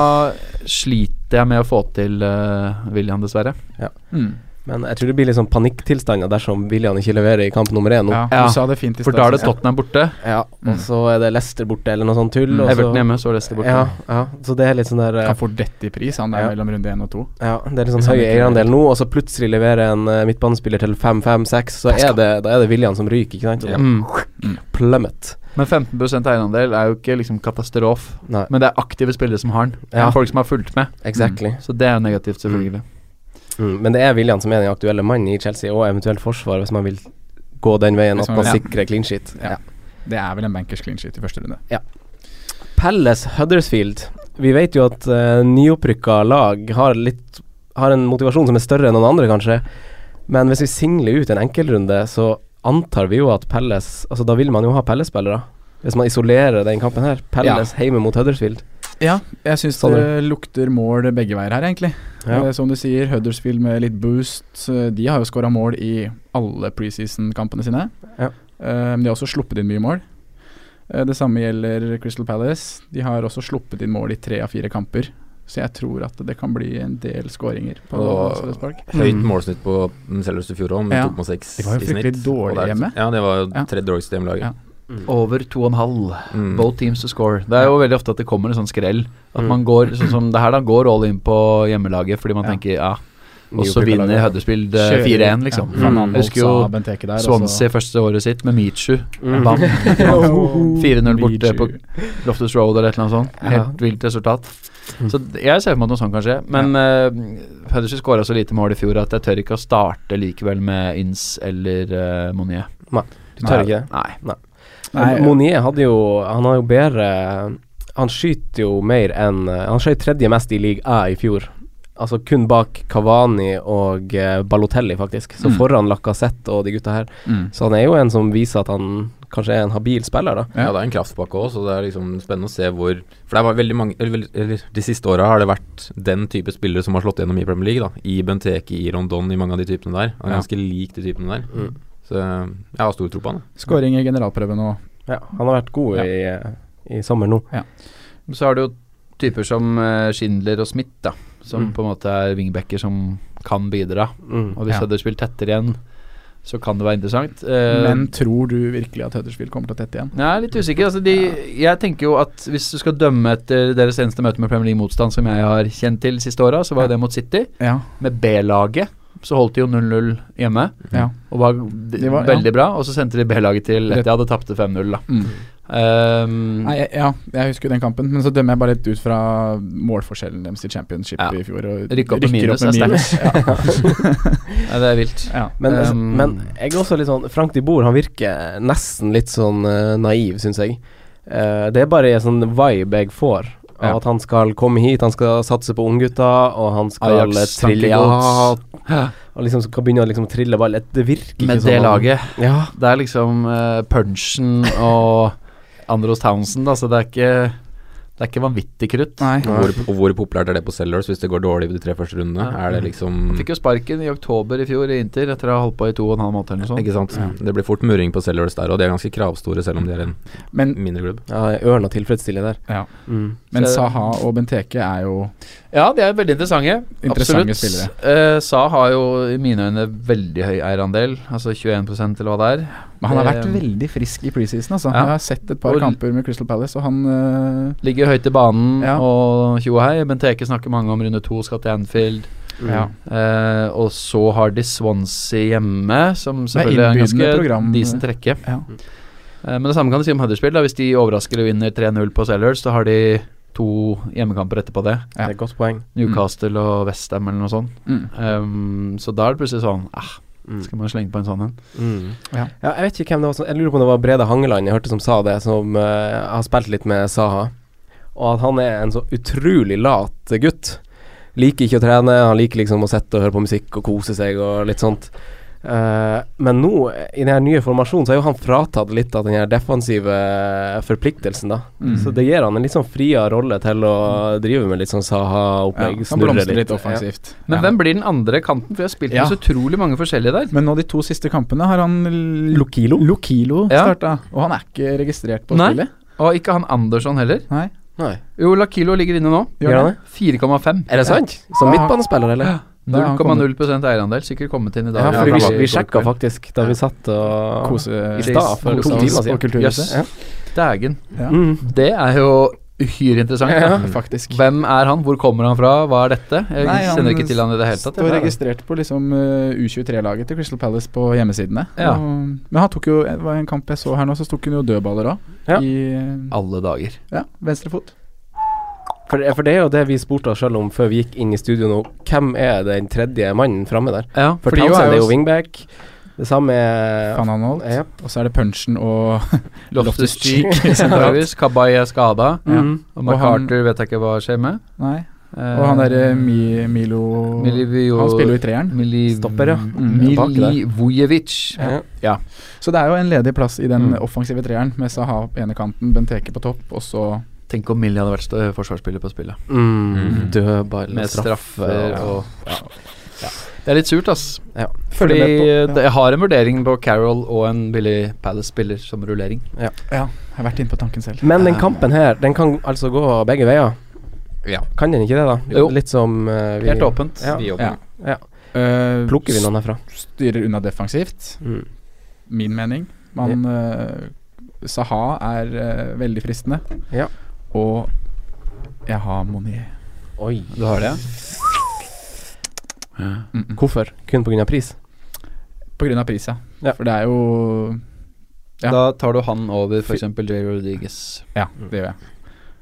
B: sliter jeg med å få til eh, William, dessverre.
C: Ja.
D: Mm.
C: Men jeg tror det blir litt sånn panikktilstander dersom William ikke leverer i kamp nummer én nå.
D: Ja,
B: Ja,
D: du sa det fint i
B: For
D: stad,
B: da er det
D: synes jeg.
B: Tottenham borte.
C: Ja, Mm. og så er det Leicester borte, eller noe sånt tull.
B: Mm.
C: og så-
B: Everton hjemme, så er Leicester borte.
C: Ja, ja, så det er litt sånn der eh,
D: Han får dette i pris, han er
C: Ja.
D: mellom runde én og to.
C: Ja, det er litt sånn
D: Hvis han
C: høy
D: ikke-
C: eierandel nå, og så plutselig leverer en eh, midtbanespiller til 5-5-6, så er det, da er det William som ryker, ikke sant? Og så-
B: Mm.
C: Plummet.
B: Men 15 eierandel er jo ikke liksom katastrof.
C: Nei.
B: Men det er aktive spillere som har den. Det er
C: Ja.
B: Folk som har fulgt med.
C: Exactly.
B: Så det er jo negativt, selvfølgelig.
C: Mm. Men det er William som er den aktuelle mannen i Chelsea, og eventuelt forsvar, hvis man vil gå den veien
D: Hvis
C: at
D: man
C: man
D: vil, ja.
C: sikrer clean sheet. Ja.
D: Det er vel en bankers clean sheet i første runde.
C: Palace Huddersfield. Vi vet jo at uh, nyopprykka lag har, litt, har en motivasjon som er større enn noen andre, kanskje. Men hvis vi singler ut en enkeltrunde, så antar vi jo at Palace Altså, da vil man jo ha Palace-spillere. Hvis man isolerer den kampen her. Palace hjemme mot Huddersfield.
D: Ja, jeg syns
C: Sånn,
D: det lukter mål begge veier her, egentlig.
C: Ja.
D: Eh, Som du sier, Huddersfield med litt boost. eh, De har jo skåra mål i alle preseason-kampene sine.
C: Ja.
D: Eh, Men de har også sluppet inn mye mål. Eh, Det samme gjelder Crystal Palace. De har også sluppet inn mål i tre av fire kamper. Så jeg tror at det kan bli en del skåringer på
E: Og
D: Selhurst Park.
E: Høyt målsnitt på den selveste i fjor òg, med
D: Mm. Ja.
E: 2,6 i
D: De
E: snitt.
D: var jo fryktelig
E: og det er-
D: dårlige hjemme.
E: Ja, det var jo
D: Ja.
E: tredje dårligste hjemmelaget.
D: Ja.
B: Over 2,5.
E: Mm.
B: Both teams to score. Det er jo veldig ofte at det kommer en sånn skrell. At
C: Mm.
B: man går sånn som det her, da. Går all in på hjemmelaget fordi man
D: Ja.
B: tenker ja. Og så
C: Mm. Nyopprykka lag,
B: vinner
C: ja.
B: Huddersfield eh,
D: Kjører,
B: 4-1, liksom.
D: ja. Mm.
B: Jeg husker
D: Holdt seg av
B: jo
D: Benteke der, altså. og så-
B: Swansea første året sitt med Michu.
C: Mm.
B: Bam. 4-0 borte
D: Michu.
B: på Loftus Road eller et eller annet sånt.
C: Ja.
B: Helt vilt resultat. Så d- jeg ser for meg at noe sånt kan skje. Men ja. Pedersen skåra så lite mål i fjor at jeg tør ikke å starte likevel med Inns eller eh, Monier.
C: Nei, du tør ikke det?
B: Nei.
D: Nei,
C: Monier hadde jo Han har jo bedre Han skyter jo mer enn Han skjøt tredje mest i league A i fjor. Altså kun bak Kavani og eh, Balotelli, faktisk. Så foran Lacassette og de gutta her.
D: Mm.
C: Så han er jo en som viser at han kanskje er en habil spiller, da.
E: Ja. det er en kraftpakke òg, så det er liksom spennende å se hvor For det er bare veldig mange eller, vel- eller de siste åra har det vært den type spillere som har slått gjennom i Premier League, da. I Benteke, i Rondon, i mange av de typene der. Han er
D: Ja.
E: ganske lik de typene der.
C: Mm.
E: Så jeg har stor tro på han. da.
D: Skåring i generalprøven og
C: Ja, han har vært god
D: Ja.
C: i, eh, i sommer nå.
B: Så er det jo typer som eh, Schindler og Smith, da. Som
C: Mm.
B: på en måte er wingbacker som kan bidra.
C: Mm.
B: Og hvis ja.
D: Ja.
B: Huddersfield tetter igjen, så kan det være interessant. Eh,
D: Men tror du virkelig at Huddersfield kommer til å tette igjen?
B: Jeg er litt usikker. Altså, de, jeg tenker jo at hvis du skal dømme etter deres eneste møte med Premier League-motstand, som jeg har kjent til siste åra, så var jo det mot City.
D: Ja.
B: Med B-laget så holdt de jo 0-0 hjemme,
D: Ja.
B: og var,
D: Det var- ja.
B: veldig bra. Og så sendte de B-laget til Lettia, og tapte 5-0, da.
D: Mm.
B: Ehm,
D: Nei, jeg, ja, jeg husker jo den kampen, men så dømmer jeg bare litt ut fra målforskjellen deres i championship
B: Ja.
D: i fjor. Og
B: Rykke opp med minus,
D: med
B: det er
D: minus.
B: Ja. Nei, det er vilt.
D: Ja.
C: Men, altså,
B: Eh,
C: men jeg er også litt sånn Frank de Boer han virker nesten litt sånn eh, naiv, syns jeg. Eh, det er bare en sånn vibe jeg får. Av
B: Ja.
C: At han skal komme hit, han skal satse på unggutta, og han skal eh,
B: Ajax
C: trille
B: tankegods.
C: Ja, og liksom skal begynne å liksom trille ball. Det virker
B: Med
C: ikke sånn.
B: det laget.
C: Ja.
B: Det er liksom eh, punchen og Andros Townsend, altså det er ikke det er ikke vanvittig krutt.
D: Nei.
E: Og hvor, og hvor populært er det på Sellers hvis det går dårlig de tre første rundene?
B: Ja.
E: Er det liksom
D: Mm.
B: Han fikk jo sparken i oktober i fjor i Inter etter å ha holdt på i to og en sånn. halv måned eller noe sånt.
E: Ikke sant? Det blir fort murring på Sellers der, og de er ganske kravstore selv om de er en
D: Men,
E: mindre klubb.
C: Ja, Ørna tilfredsstiller der.
D: ja.
C: Mm.
D: men
B: Så-
D: Saha og Benteke er jo
B: Ja, de er veldig interessante.
D: Interessante
B: Absolutt.
D: spillere.
B: Eh, Sa har jo i mine øyne veldig høy eierandel, altså 21 eller hva det er.
D: Men han har vært
B: Eh,
D: veldig frisk i preseason, altså.
B: Ja.
D: Jeg har sett et par
B: Og-
D: kamper med Crystal Palace, og han øh,
B: Ligger høyt i banen
D: Ja.
B: og tjo og hei. Benteke snakker mange om runde to skal til Anfield.
D: ja.
B: Eh, og så har de Swansea hjemme, som
D: er
B: selvfølgelig er en ganske
D: innbydende program.
B: decent trekke.
D: Ja.
B: Eh, men det samme kan du si om Huddersfield. Da. Hvis de overrasker og vinner 3-0 på Sellers, da har de to hjemmekamper etterpå det.
D: Ja.
C: Det er et godt poeng.
B: Newcastle og Westham eller noe sånt.
D: Mm.
B: Um, så da er det plutselig sånn ah,
C: Mm.
B: Skal man slenge på en sånn en?
C: Mm.
D: Ja.
C: Ja. jeg vet ikke hvem det var som Jeg lurer på om det var Brede Hangeland jeg hørte som sa det, som eh, har spilt litt med Saha. Og at han er en så utrolig lat gutt. Liker ikke å trene, han liker liksom å sitte og høre på musikk og kose seg og litt sånt. Eh, men nå, i den her nye formasjonen, så er jo han fratatt litt av den her defensive forpliktelsen, da.
D: mm.
C: Så det gir han en litt sånn friere rolle til å drive med litt sånn
D: Ja,
C: Saha-opplegg,
D: han blomstrer litt offensivt.
B: Men
D: Ja.
B: hvem blir den andre kanten? For jeg har spilt
D: Ja.
B: med så utrolig mange forskjellige der.
D: Men nå de to siste kampene har han l-
C: Lokilo?
D: Lokilo
B: Ja.
D: starta, og han er ikke registrert på
B: Nei.
D: spillet.
B: Og ikke han Andersson heller.
D: Nei.
C: Nei.
B: Jo, Lakilo ligger inne nå.
C: Gjør han det?
B: 4,5.
C: Er det sant? Som midtbanespiller, eller?
D: Da har han
B: 0,0 eierandel. Sikkert kommet inn i dag.
C: Ja, for
E: Ja,
C: vi,
E: han var-
C: vi sjekka faktisk da vi satt og
D: Kose
C: i stad for sånn
D: kose
C: to
D: oss
C: timer siden.
D: på Kulturhuset.
C: Ja.
B: Dægen.
D: Ja.
C: Mm.
B: Det er jo uhyre interessant. da.
D: Ja, Faktisk.
B: Hvem er han? Hvor kommer han fra? Hva er dette? Jeg
D: Nei, han
B: kjenner ikke til han i det hele tatt.
D: Står registrert på liksom eh, U23-laget til Crystal Palace på hjemmesidene.
B: Ja.
D: Og, men han tok jo det var en kamp jeg så her nå, så tok han jo dødballer òg.
C: Ja.
D: I
B: Alle dager.
D: ja, venstrefot.
C: For, for det er jo det vi spurte oss sjøl om før vi gikk inn i studio nå. Hvem er den tredje mannen framme der?
B: Ja,
C: For
D: Fordi jo er
C: Townsend er
D: jo
C: jo wingback. Det samme er
D: Fan han holdt.
C: Ja.
D: Og så er det punchen og
B: Loftus Cheek
D: Loftus-Cheek,
B: sentralvis. Kabay er skada.
C: Mhm.
B: Og
D: Og han-
B: McCarter vet jeg ikke hva skjer med. Ehm,
D: Nei. Og han eh, derre Mi, Milo
B: Eh, Milivio-
D: Han spiller jo i treeren.
B: Miliv...
C: Stopper, ja.
B: Mm.
C: Bak der.
B: Milivojevic.
C: Ja.
D: Så det er jo en ledig plass i den
B: Mm.
D: offensive treeren, med Saha på ene kanten, Benteke på topp, og så
B: Tenk om Millie hadde vært stø- forsvarsspiller på spillet.
C: Mm. Dødball
B: Med
C: og straffe.
B: straffer
C: ja.
B: og Det er litt surt, ass.
C: Ja.
B: Fordi
D: Følger med på-
B: eh, det- jeg har en vurdering på Carol og en Billy Palace-spiller som rullering.
D: Ja, jeg har vært inne på tanken selv. Eh,
C: Men den kampen her, den kan altså gå begge veier.
E: Ja.
C: Kan den ikke det, da?
B: Jo.
C: Litt som eh, vi
B: Helt åpent.
C: Ja.
E: Vi jobber.
D: Ja.
C: Ja.
D: Eh,
C: Plukker vi noen herfra?
D: Styrer unna defensivt,
C: Mm.
D: min mening. Man eh, Saha er eh, veldig fristende.
C: Ja.
D: Og jeg har Moni.
C: Oi.
B: Du har det?
C: Hvorfor? Kun pga. pris?
D: Mm, På grunn av pris, ja.
C: Ja.
D: For det er jo Ja.
B: Da tar du han over f.eks. J. Rodriguez.
D: Ja, det gjør jeg.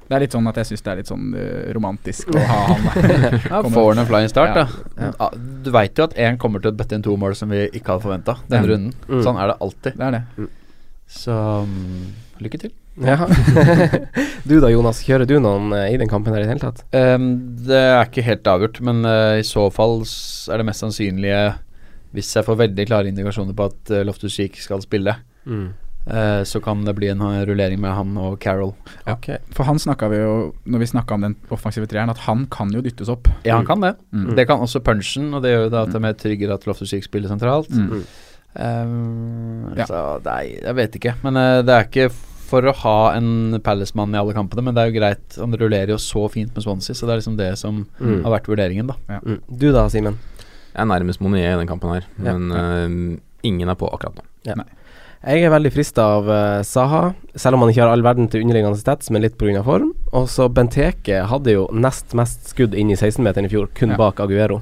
D: Det er litt sånn at jeg syns det er litt sånn eh, romantisk å ha han.
B: Ja,
D: Kommer-
B: får han en flying start,
D: Ja.
B: da. Ah, Du veit jo at én kommer til å bøtte inn to mål som vi ikke hadde forventa denne
D: Ja.
B: runden. Sånn er det alltid.
D: Det er det.
B: Så mm, lykke til.
C: Ja. du da, Jonas. Kjører du noen eh, i den kampen her i det hele tatt?
B: Ehm, det er ikke helt avgjort, men eh, i så fall s- er det mest sannsynlige Hvis jeg får veldig klare indikasjoner på at uh, Loftus Cheek skal spille, eh, så kan det bli en eh, rullering med han og Carol.
C: Ok.
D: For han snakka vi jo, når vi snakka om den offensive treeren, at han kan jo dyttes opp.
B: Ja, han kan det.
D: Mm.
B: Det kan også punchen, og det gjør jo da at det er mer tryggere at Loftus Cheek spiller sentralt.
D: Mm.
B: Ehm,
D: Ja.
B: Så nei, jeg vet ikke. Men eh, det er ikke for å ha en Palace-mann i alle kampene, men det er jo greit. Han rullerer jo så fint med Swansea, så det er liksom det som
C: Mm.
B: har vært vurderingen, da.
C: Mm. Du da, Simen.
E: Jeg er nærmest Monier i den kampen her, men eh, ingen er på akkurat nå.
C: Jeg er veldig frista av eh, Saha, selv om han ikke har all verden til underliggende stats, men litt pga. form. Og så Benteke hadde jo nest mest skudd inn i 16-meteren i fjor, kun
D: Ja.
C: bak Aguero.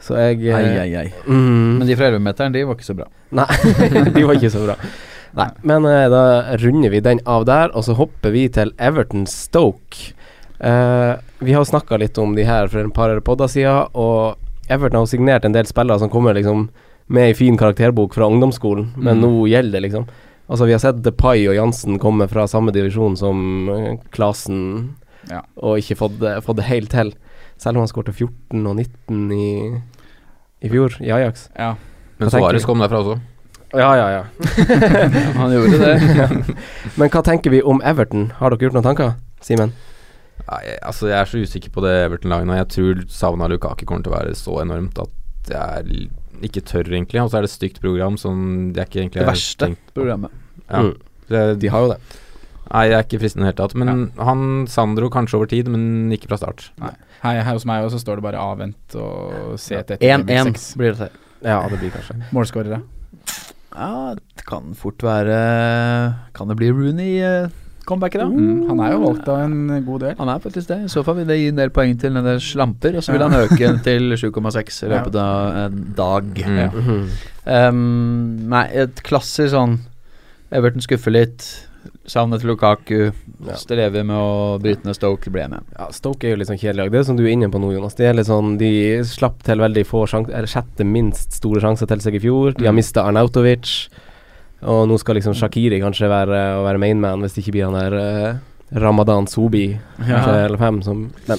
C: Så jeg eh,
B: Ai, ai, ai.
C: Mm,
B: Men de fra 11-meteren, de var ikke så bra.
C: Nei, de var ikke så bra. Nei, men eh, da runder vi den av der, og så hopper vi til Everton Stoke. Eh, vi har snakka litt om de her for en par podder siden, og Everton har jo signert en del spillere som kommer liksom med ei fin karakterbok fra ungdomsskolen, men
D: Mm.
C: nå gjelder det, liksom. Altså, vi har sett DePay og Jansen komme fra samme divisjon som eh, Klasen,
D: Ja.
C: og ikke fått det, fått det helt til. Selv om han skårte 14 og 19 i, i fjor, i Ajax.
D: Ja.
E: Men Suarez kom derfra også.
C: Ja, ja, ja.
B: Han gjorde det.
C: Ja. Men hva tenker vi om Everton? Har dere gjort noen tanker, Simen?
E: Nei, altså Jeg er så usikker på det Everton-laget nå. Jeg tror savnet av Lukaki kommer til å være så enormt at jeg er l- ikke tør, egentlig. Og så er det et stygt program som jeg ikke egentlig
B: Det
E: har
B: verste
E: tenkt på.
B: programmet.
E: Ja.
C: Mm.
E: Det-
C: De har jo det.
E: Nei, jeg er ikke fristende i det hele tatt. Men han Sandro kanskje over tid, men ikke fra start.
D: Her, her hos meg også står det bare 'avvent' og 'se etter
B: 1-1
D: 1-6'.
B: blir det til.
C: Ja, det blir kanskje
D: Målskårere.
B: Ja, det kan fort være Kan det bli Rooney-comebacket, da?
D: Mm, han er jo valgt av en god del.
B: Han er faktisk det. I så fall vil det gi en del poeng til en del slamper, og så vil han øke til 7,6 i løpet av en dag.
E: Mm.
B: Ja. Ehm, nei, et klasser sånn Everton skuffer litt. Savnet Lukaku.
C: Ja.
B: Strever med å bryte ned Stoke. Ble med.
C: Ja, Stoke er jo litt sånn kjedelig lag. Det er som du er inne på nå, Jonas. Det er litt sånn, De slapp til veldig få sjanser, eller sjette minst store sjanser til seg i fjor. De har mista Arnautovic. Og nå skal liksom Shakiri kanskje være, å være mainman, hvis det ikke blir han der eh, Ramadan Sobi, kanskje, eller fem, som Men
D: Men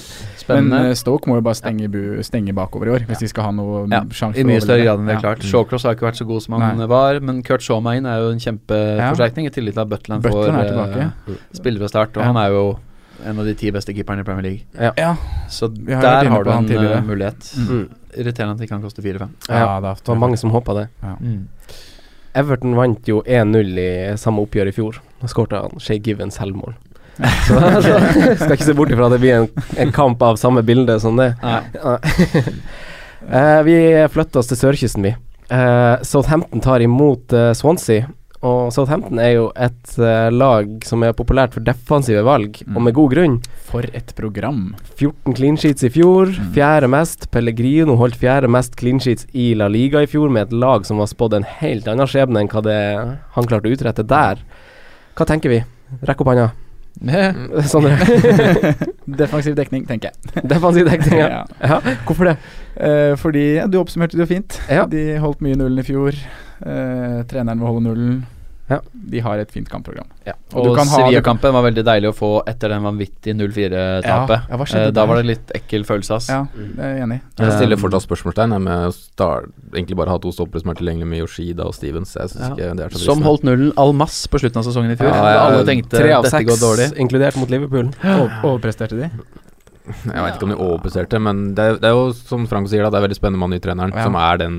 B: Spennende.
D: eh, Stoke må jo bare stenge, bu stenge bakover i år, hvis de skal ha noe
B: ja,
D: sjanse.
B: I
D: for å
B: mye større
D: overleve.
B: grad enn vi har
D: Ja. Mm.
B: klart. Shawcross har ikke vært så god som han
D: Nei.
B: var, men Kurt Shawmain er jo en kjempeforsterkning, i tillegg til at Butland får
D: Butland er
B: eh,
D: tilbake.
B: spille fra start. Og
D: Ja.
B: han er jo en av de ti beste keeperne i Premier League.
D: Ja,
B: Så
D: Vi har jo vært
B: der
D: inne
B: har
D: på
B: du
D: han
B: en eh,
D: tidligere.
B: mulighet.
C: mm.
B: Irriterende at det ikke kan koste 4-5.
C: Ja,
D: ja, da,
C: det var mange som håpa det.
D: Mm.
C: Everton vant jo 1-0 i samme oppgjør i fjor. Da skårte han Shay Given selvmål. Så altså, skal ikke se bort ifra at det blir en, en kamp av samme bilde som det.
B: Nei.
C: Eh, vi flytter oss til sørkysten, vi. Eh, Southampton tar imot eh, Swansea. Og Southampton er jo et eh, lag som er populært for defensive valg, og med god grunn.
D: For et program.
C: 14 clean sheets i fjor, fjerde mest. Pellegrino holdt fjerde mest clean sheets i La Liga i fjor, med et lag som var spådd en helt annen skjebne enn hva det han klarte å utrette der. Hva tenker vi? Rekk opp hånda. Sondre.
D: Defensiv dekning, tenker jeg.
C: Defensiv dekning. Ja.
D: Ja.
C: Ja. Hvorfor det?
D: Eh, fordi ja, Du oppsummerte det jo fint.
C: Ja.
D: De holdt mye nullen i fjor. Eh, treneren vil holde nullen.
C: Ja.
D: De har et fint kampprogram.
C: Ja.
D: Og du
B: Og
D: kan ha-
B: Sevilla-kampen var veldig deilig å få etter den vanvittige 0-4-tapet.
D: Ja, ja, hva skjedde
B: Eh, da
D: der?
B: var det litt ekkel følelse, ass.
D: Ja, det er jeg enig i.
E: Jeg stiller
B: Um,
E: fortsatt spørsmålstegn jeg, med å star, egentlig bare ha to stoppere som er tilgjengelige med Yoshida og Stevens. Jeg synes
B: Ja.
E: ikke det er så
B: Som
E: fristende.
B: holdt nullen al mass på slutten av sesongen i fjor.
E: Ja, ja,
B: Alle tenkte
C: Tre av
B: dette går dårlig.
C: seks, inkludert mot Liverpool.
D: Over- Overpresterte de?
E: Jeg vet ikke om de overpresterte, men det er, det er jo som Frank sier, da, det er veldig spennende med han nye treneren,
D: Ja.
E: som er den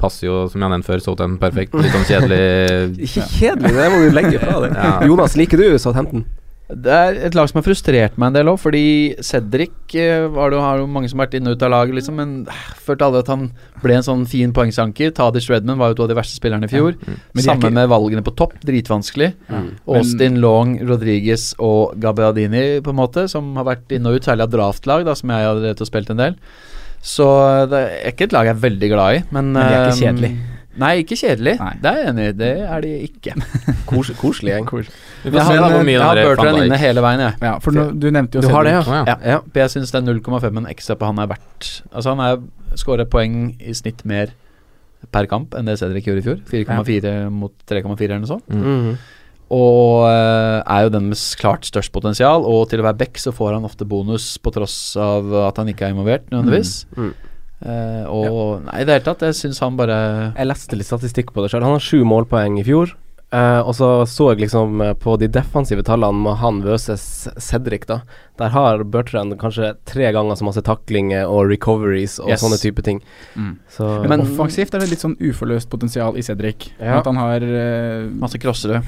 E: passer jo, som jeg har nevnt før, Southampton perfekt. Litt sånn kjedelig
C: Ikke kjedelig, det må du legge fra deg.
E: Ja.
C: Jonas, liker du Southampton?
B: Det er et lag som har frustrert meg en del òg, fordi Cedric eh, var det, jo- har jo mange som har vært inn og ut av laget, liksom, men eh, følte aldri at han ble en sånn fin poengsanker. Tadish Redman var jo to av de verste spillerne i
E: mm.
B: fjor.
D: Men de er
B: Samme
D: ikke-
B: med valgene på topp, dritvanskelig. Austin Long, Rodriguez og Gabbiadini, på en måte, som har vært inn og ut, særlig av draftlag, da, som jeg har drevet og spilt en del. Så eh, det er ikke et lag jeg er veldig glad i, men
D: Men de er ikke
B: eh,
D: kjedelig.
B: Nei, ikke kjedelig.
D: Nei.
B: Det er jeg enig i. Det er de ikke.
C: Kos, koselig gjeng.
E: Vi
B: Jeg
E: får se da
B: har,
E: hvor mye
B: jeg
E: han
B: har
E: der
B: Bertrand
E: Van
B: inne
E: Dijk
B: hele veien, jeg.
D: Ja, for nå, du nevnte jo
C: Du har det,
D: Cedric.
C: ja?
E: Å, ja.
B: Ja. For jeg syns den 0,5-en ekstra på han er verdt Altså han er skåra poeng i snitt mer per kamp enn det Cedric gjorde i fjor. 4,4 mot 3,4 eller noe sånt.
C: Mhm.
B: Og eh, er jo den med s- klart størst potensial. Og til å være back så får han ofte bonus på tross av at han ikke er involvert, nødvendigvis.
C: Mm.
B: Eh, og nei, i det hele tatt, jeg syns han bare
C: Jeg leste litt statistikk på det sjøl. Han har sju målpoeng i fjor. Eh, og så så jeg liksom eh, på de defensive tallene med han versus Cedric, da. Der har Bertrand kanskje tre ganger så masse taklinger og recoveries og
B: Yes.
C: sånne type ting.
D: Mm.
C: Så
D: Men
B: Men-
D: offensivt er det litt sånn uforløst potensial i Cedric.
C: Ja.
D: At han har eh,
B: Masse Mm. crossere.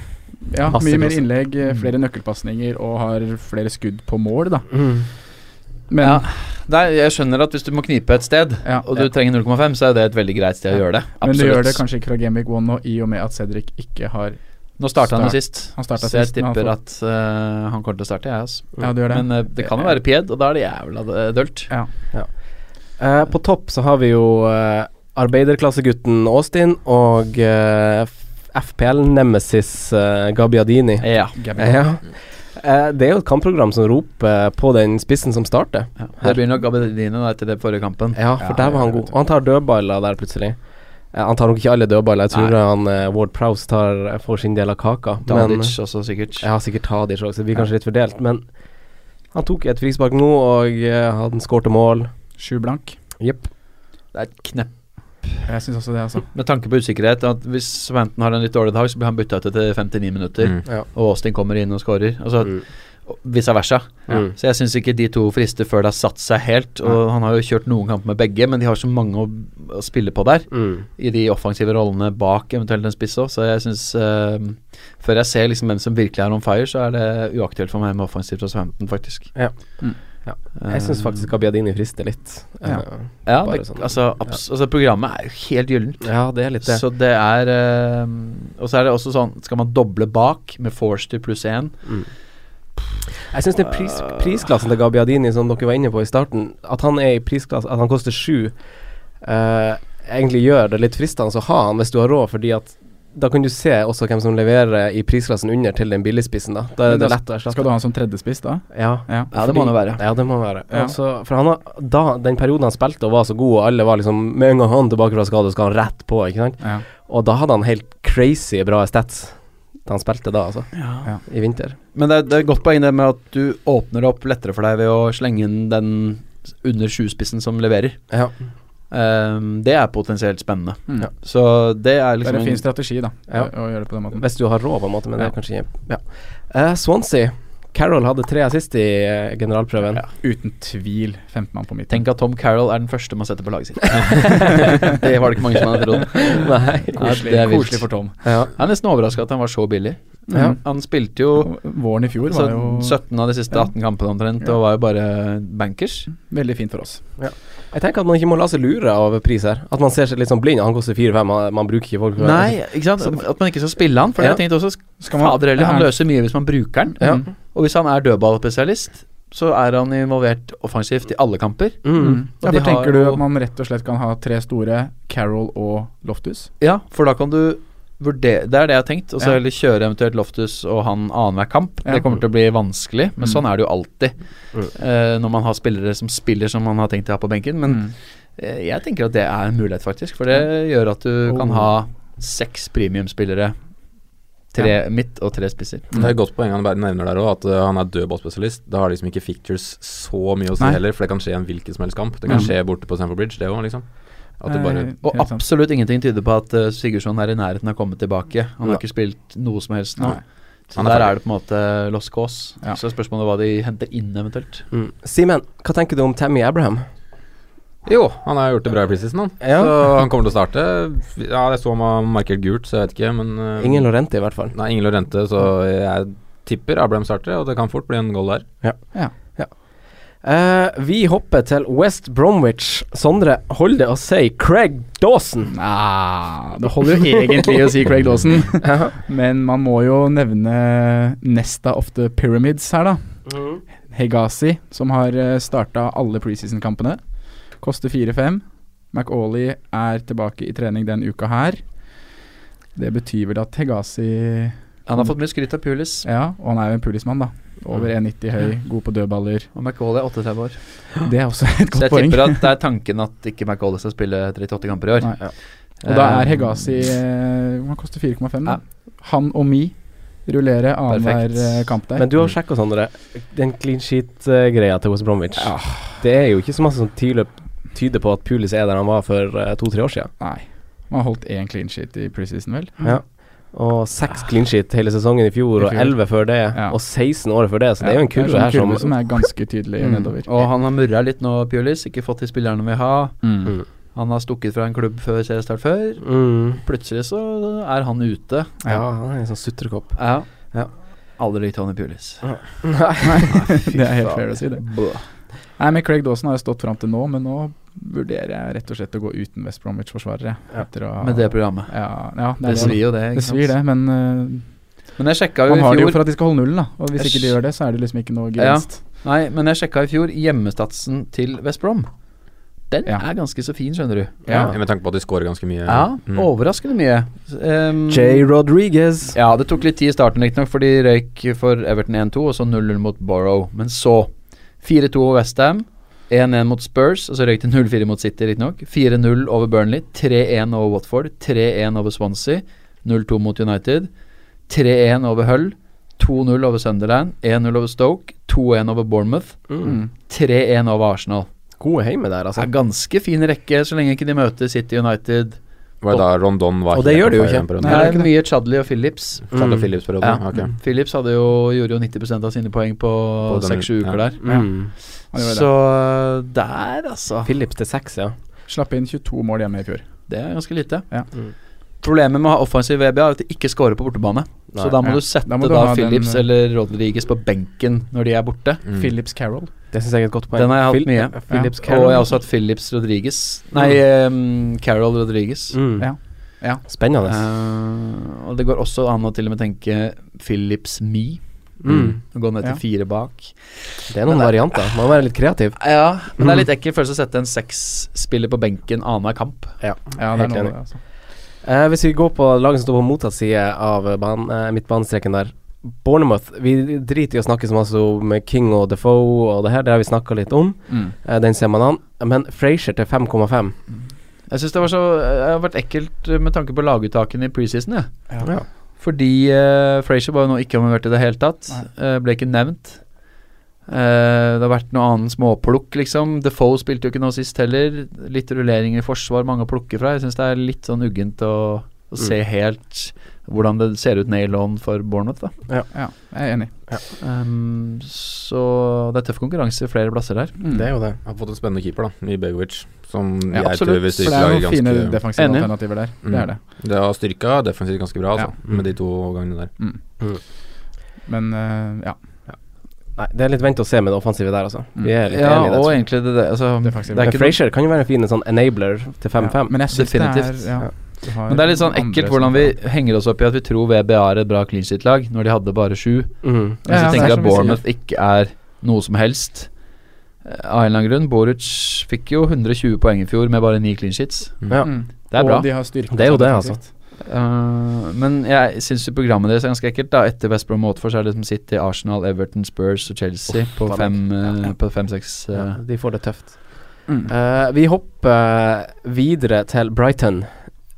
D: ja,
C: masse
D: mye mer
C: klasse.
D: innlegg, eh, flere nøkkelpasninger og har flere skudd på mål, da.
C: mm.
D: Men
B: Ja. Nei, jeg skjønner at hvis du må knipe et sted,
D: Ja.
B: og du trenger 0,5, så er det et veldig greit sted å gjøre det.
D: Men du gjør
B: Absolutt.
D: det
B: Mm.
D: kanskje ikke fra Game Week 1 nå, i og med at Cedric ikke har
B: Nå starta han jo
D: Start.
B: sist,
D: Han startet
B: så jeg
D: sist, men han
B: tipper
D: får-
B: at eh, han kommer til å starte, jeg. Altså.
D: Ja, du gjør det.
B: Men eh, det kan jo være Pied, og da er det jævla eh, dølt.
D: Ja.
C: Eh, på topp så har vi jo eh, arbeiderklassegutten Austin og eh, f- FPL-nemesis eh, Gabbiadini.
B: Ja.
D: Gabbiadini.
C: Ja. Eh, det er jo et kampprogram som roper på den spissen som starter.
B: Det blir nok Abedine etter den forrige kampen.
C: Ja, for der var han god. Og han tar dødballer der plutselig. Eh, Han tar nok ikke alle dødballer. Jeg tror
B: Nei.
C: han eh, Ward Prowse tar, eh, får sin del av kaka. men-
B: Tadic også, sikkert.
C: Ja, sikkert Tadic også. så Det blir kanskje litt fordelt. Men han tok et frispark nå, og eh, han skårte mål.
D: Sju blank.
C: Jepp.
B: Det er et knepp.
D: Jeg syns også det, altså.
B: Med tanke på usikkerhet, at hvis Swanton har en litt dårlig dag, så blir han bytta ut etter 59 minutter.
E: Mm.
C: Ja.
B: Og Austin kommer inn og scorer. Altså,
D: Mm.
B: og Vice versa.
C: Mm.
B: Så jeg syns ikke de to frister før det har satt seg helt. Og han har jo kjørt noen kamper med begge, men de har så mange å, å spille på der.
C: Mm.
B: I de offensive rollene bak eventuelt en spiss òg, så jeg syns Før jeg ser liksom hvem som virkelig er on fire, så er det uaktuelt for meg med offensivt fra Swanton, faktisk.
C: Ja.
D: Mm.
C: Ja. Jeg syns faktisk Gabbiadini frister litt.
D: Ja.
C: Eh,
B: Ja,
C: bare
B: det,
C: sånn.
B: altså, abs altså programmet er jo helt gyllent.
C: ja, det er litt det.
B: Så det er eh, Og så er det også sånn Skal man doble bak med Forster pluss én?
C: Jeg syns den pris, prisklassen til Gabbiadini som dere var inne på i starten, at han er i prisklasse At han koster sju, eh, egentlig gjør det litt fristende å ha han hvis du har råd, fordi at da kan du se også hvem som leverer i prisklassen under til den billigspissen, da. Da er
D: Men
C: det
D: da
C: lett å
D: Skal
C: erstatte.
D: du ha han som tredjespiss da?
C: Ja.
D: Ja.
B: Ja, det må han jo være.
C: Ja, det må være.
D: Ja.
C: Altså, for han har, da, den perioden han spilte og var så god, og alle var liksom Med en gang han er tilbake fra skade, skal han rett på, ikke sant?
D: Ja.
C: Og da hadde han helt crazy bra stats da han spilte da, altså.
D: Ja.
C: I vinter.
B: Men det, er- det er et godt poeng det med at du åpner opp lettere for deg ved å slenge inn den under sjuspissen som leverer.
C: Ja.
B: Ehm, det er potensielt spennende.
D: Mm.
B: Så det er
D: Det
B: liksom
D: er en fin
B: en,
D: strategi, da,
C: Ja.
D: å gjøre det på den måten.
C: Hvis du har råd, på en måte, men det er
D: Ja.
C: kanskje ja. Eh, Swansea. Carroll hadde tre assist i eh, generalprøven.
D: Uten tvil femtemann på midten.
B: Tenk at Tom Carroll er den første man setter på laget sitt. det var det ikke mange som hadde trodd.
C: Nei.
B: det er vilt.
D: Koselig for Tom. Mm.
C: Ja.
B: Jeg er nesten overraska at han var så billig.
C: Ja.
B: Han spilte jo
D: Våren i fjor var jo
B: så 17 av de siste
D: Ja.
B: 18 kampene omtrent,
D: Ja.
B: og var jo bare bankers.
D: veldig fint for oss.
C: Jeg tenker at man ikke må la seg lure av pris her. At man ser seg litt sånn blind. Han koster 4-5, man, man bruker ikke folk.
B: Nei, ikke sant? at man ikke skal spille han. For
C: Ja.
B: jeg tenkte også
D: Skal man-
B: Fader heller, han
D: Ja. Mm.
B: løser mye hvis man bruker han.
C: Ja.
B: Og hvis han er dødballspesialist, så er han involvert offensivt i alle kamper.
C: Mm.
D: Ja,
B: de
D: for
B: har
D: tenker du
B: jo-
D: at man rett og slett kan ha tre store, Carol og Loftus?
B: Ja, for da kan du vurdere Det er det jeg har tenkt. Og så
D: Ja.
B: heller kjøre eventuelt Loftus og han annenhver kamp.
D: Ja.
B: Det kommer til å bli vanskelig, men
D: Mm.
B: sånn er det jo alltid.
C: Mm.
B: eh, når man har spillere som spiller som man har tenkt å ha på benken. Men
D: Mm.
B: eh, jeg tenker at det er en mulighet, faktisk. For det gjør at du kan
D: Oh.
B: ha seks premiumspillere. Tre midt og tre spisser.
E: Det er et godt poeng han bare nevner der òg, at eh, han er dødballspesialist. Da har liksom ikke fictures så mye å si
D: Nei.
E: heller, for det kan skje i en hvilken som helst kamp. Det kan
D: Mm. Eh.
E: skje borte på Stamford Bridge, det òg, liksom. At det bare
D: Nei,
B: Og
D: helt sant.
B: absolutt ingenting tyder på at eh, Sigurdsson er i nærheten av å komme tilbake. Han har
E: Ja.
B: ikke spilt noe som helst nå.
D: Nei.
B: Så
E: Han er
B: der
E: ferdig.
B: er det på en måte lost cause.
D: Ja.
B: Så er spørsmålet hva de henter inn eventuelt.
C: Mm. Simen, hva tenker du om Tammy Abraham?
E: Jo, han har gjort det bra i preseason, han.
C: Ja.
E: Så han kommer til å starte. Ja, jeg så han var markert gult, så jeg vet ikke, men eh,
C: Ingen Lorente, i hvert fall.
E: Nei, ingen Lorente, så jeg tipper Abraham starter, og det kan fort bli en goal der.
C: Eh, vi hopper til West Bromwich. Sondre, hold det å si Craig Dawson.
D: Nei, det holder jo egentlig å si Craig Dawson, men man må jo nevne Nesta of the Pyramids her, da.
B: Mm-hmm.
D: Hegazi, som har starta alle preseason-kampene. Koster 4-5. McAuley er tilbake i trening den uka her. Det betyr vel at Hegazi
B: Han har fått mye skryt av Pulis,
D: Ja, og han er jo en pulismann, da. Over 1,90 høy, god på dødballer.
B: og McAuley er 38 år.
D: Det er også
B: Så
D: et godt
B: jeg
D: poeng.
B: tipper at det er tanken at ikke McAuley skal spille 38 kamper i år.
D: Nei. Og da er Hegazi eh, Han koster 4,5. da.
B: Ja.
D: Han og Mi rullerer annenhver
B: Perfekt.
D: eh, kamp der.
C: Men du har sjekka, Sondre. Den clean sheet-greia til West Bromwich.
D: Ja.
C: Det er jo ikke så masse som tyder, tyder på at Pulis er der han var for eh, to-tre år siden.
D: Nei. Man har holdt én clean sheet i preseason, vel?
C: Ja. Og seks clean sheet hele sesongen i
D: I
C: fjor, og
D: fjor.
C: elleve før det,
D: Ja.
C: og 16 året før det, så det er jo en kurve
D: sånn
C: her som,
D: kurve som er ganske tydelig
C: Mm.
D: nedover.
B: Og han har murra litt nå, Pulis. Ikke fått de spillerne vi har.
D: Mm.
B: Han har stukket fra en klubb før seriestart før.
C: mm,
B: Plutselig så er han ute.
C: Ja, han er en sånn sutrekopp.
B: Ja.
C: Ja.
B: Aldri likt Tony Pulis.
D: Det er helt fair å si, det. Nei, men Craig Dawson har jo stått fram til nå, men nå vurderer jeg rett og slett å gå uten West Bromwich-forsvarere.
C: Ja.
D: etter å-
B: Med det programmet.
D: Ja, ja det,
B: Det
D: er
B: svir jo det. ikke
D: Det svir, det,
B: sant?
D: men eh,
B: Men jeg sjekka jo
D: man har
B: i
D: det jo
B: fjor
D: for at de skal holde nullen, da. Og hvis
B: Jeg
D: ikke de
B: s-
D: gjør det, så er det liksom ikke noe
B: Ja.
D: gevinst.
B: Nei, men jeg sjekka i fjor hjemmestatsen til West Brom. Den er ganske så fin, skjønner du.
E: Ja. Med tanke på at de scorer ganske mye.
B: Ja,
E: Mm.
B: overraskende mye. Um,
C: J. Rodriguez.
B: Ja, det tok litt tid i starten, riktignok, for de røyk for Everton 1-2, og så 0-0 mot Borrow. Men så 4-2 over Westham, 1-1 mot Spurs, og så røyk de 0-4 mot City, riktignok. 4-0 over Burnley, 3-1 over Watford, 3-1 over Swansea, 0-2 mot United, 3-1 over Hull, 2-0 over Sunderland, 1-0 over Stoke, 2-1 over Bournemouth,
C: Mm.
B: 3-1 over Arsenal.
C: Gode heime der, altså.
B: Det er ganske fin rekke, så lenge ikke de møter City United.
E: Var det da Rondon var
B: Og det
E: helt
B: gjør
E: på
B: de jo
E: fire
B: ikke.
E: den perioden?
B: Nei, det er mye Chadley og Phillips.
E: Chadley og Mm. Phillips-perioden,
B: Ja.
E: ok.
B: Mm. Phillips hadde jo, gjorde jo 90 av sine poeng på
E: På den-
B: seks-sju uker
E: ja.
B: der.
E: Ja. Mm.
D: Ja, det var det.
B: Så
C: eh,
B: der, altså.
C: Phillips til seks, ja.
D: Slapp inn 22 mål hjemme i fjor.
B: Det er ganske lite.
D: Ja.
E: Mm.
B: Problemet med å ha offensiv VB er at de ikke scorer på bortebane.
D: Nei.
B: Så da må
D: Ja.
B: du sette
D: Da
B: da,
D: må du ha den-
B: Phillips eller Rodriguez på benken når de er borte.
D: Mm. Phillips Carroll.
C: Det syns jeg er et godt poeng.
B: Den har jeg hatt
C: Phil-
B: mye.
C: eh, Phillips
B: ja.
C: Carroll.
B: Og jeg har også hatt Phillips Rodriguez. Nei, um, Carol Rodriguez.
C: Mm. Ja.
D: Ja.
C: Spennende.
B: Eh, og det går også an å til og med tenke Phillips Me.
C: Mm.
B: Gå ned til
C: Ja.
B: fire bak.
C: Det er noen varianter. Man må være litt kreativ.
B: Ja, men det er
C: Mm.
B: litt ekkel følelse å sette en seksspiller på benken annenhver kamp.
C: Ja,
D: Ja, det er
C: Helt
D: noe
C: enig.
D: av det, altså.
C: Eh, hvis vi går på laget som står på motsatt side av eh, banen, eh, midtbanestreken der. Bournemouth. Vi driter i å snakke så masse om King og Defoe og det her, det har vi snakka litt om.
B: Mm.
C: Eh, den ser man an. Men Frazier til 5,5.
B: Jeg syns det var så eh, Det har vært ekkelt med tanke på laguttaken i preseason, jeg.
D: Ja.
C: Ja.
B: Fordi uh, Frazier var jo nå ikke involvert i det hele tatt. eh, ble ikke nevnt. Eh, det har vært noe annet småplukk, liksom. Defoe spilte jo ikke noe sist heller. Litt rullering i forsvar, mange å plukke fra. Jeg syns det er litt sånn uggent å, å se
C: Mm.
B: helt hvordan det ser ut nail on for Bournemouth, da.
C: Ja.
D: Ja, jeg er enig.
B: Ehm, så det er tøff konkurranse flere plasser der.
D: Mm.
E: Det er jo det. Jeg har fått en spennende keeper, da, i Begovic. Som
B: Ja,
E: jeg
B: absolutt.
E: tror vil
B: For det
E: styrke
B: er
E: laget
D: noen
E: ganske Mm.
D: fine defensive Enig. alternativer der. Det er det.
E: Det har styrka defensivt ganske bra, altså, med de to gangene der.
D: Mm. Men eh,
B: Mm.
D: ja.
C: Nei, det er litt vent og se med det offensive der, altså. Vi er litt
B: Ja,
C: enige i det.
B: og
C: tror jeg.
B: egentlig det, det, altså, det,
D: faktisk-
B: er
C: Men
B: ikke noe-
C: Frazier kan jo være en fin sånn enabler til 5-5.
D: men jeg synes det er- ja, du har
B: Men det er litt sånn
D: andre
B: ekkelt
D: som-
B: hvordan vi henger oss opp i at vi tror VBA er et bra clean sheet-lag, når de hadde bare sju.
C: Mhm.
B: Mens
D: Ja, ja,
B: vi
D: det er
B: tenker at
D: som vi sier.
B: Bournemouth ikke er noe som helst. Eh, Av en eller annen grunn. Boruc fikk jo 120 poeng i fjor med bare ni clean sheets.
C: Ja.
D: Mm.
B: Det er altså.
D: Og
B: bra.
D: de har styrket
C: Det er jo
D: seg
C: det,
D: defensivt.
B: Eh, men jeg syns jo programmet deres er ganske ekkelt. Da. Etter West Brom Watford så er det liksom City, Arsenal, Everton, Spurs og Chelsea på
C: faen
B: fem, eh, på fem-seks
C: Ja,
B: eh.
C: de får det tøft.
D: Mm.
C: Eh, vi hopper videre til Brighton.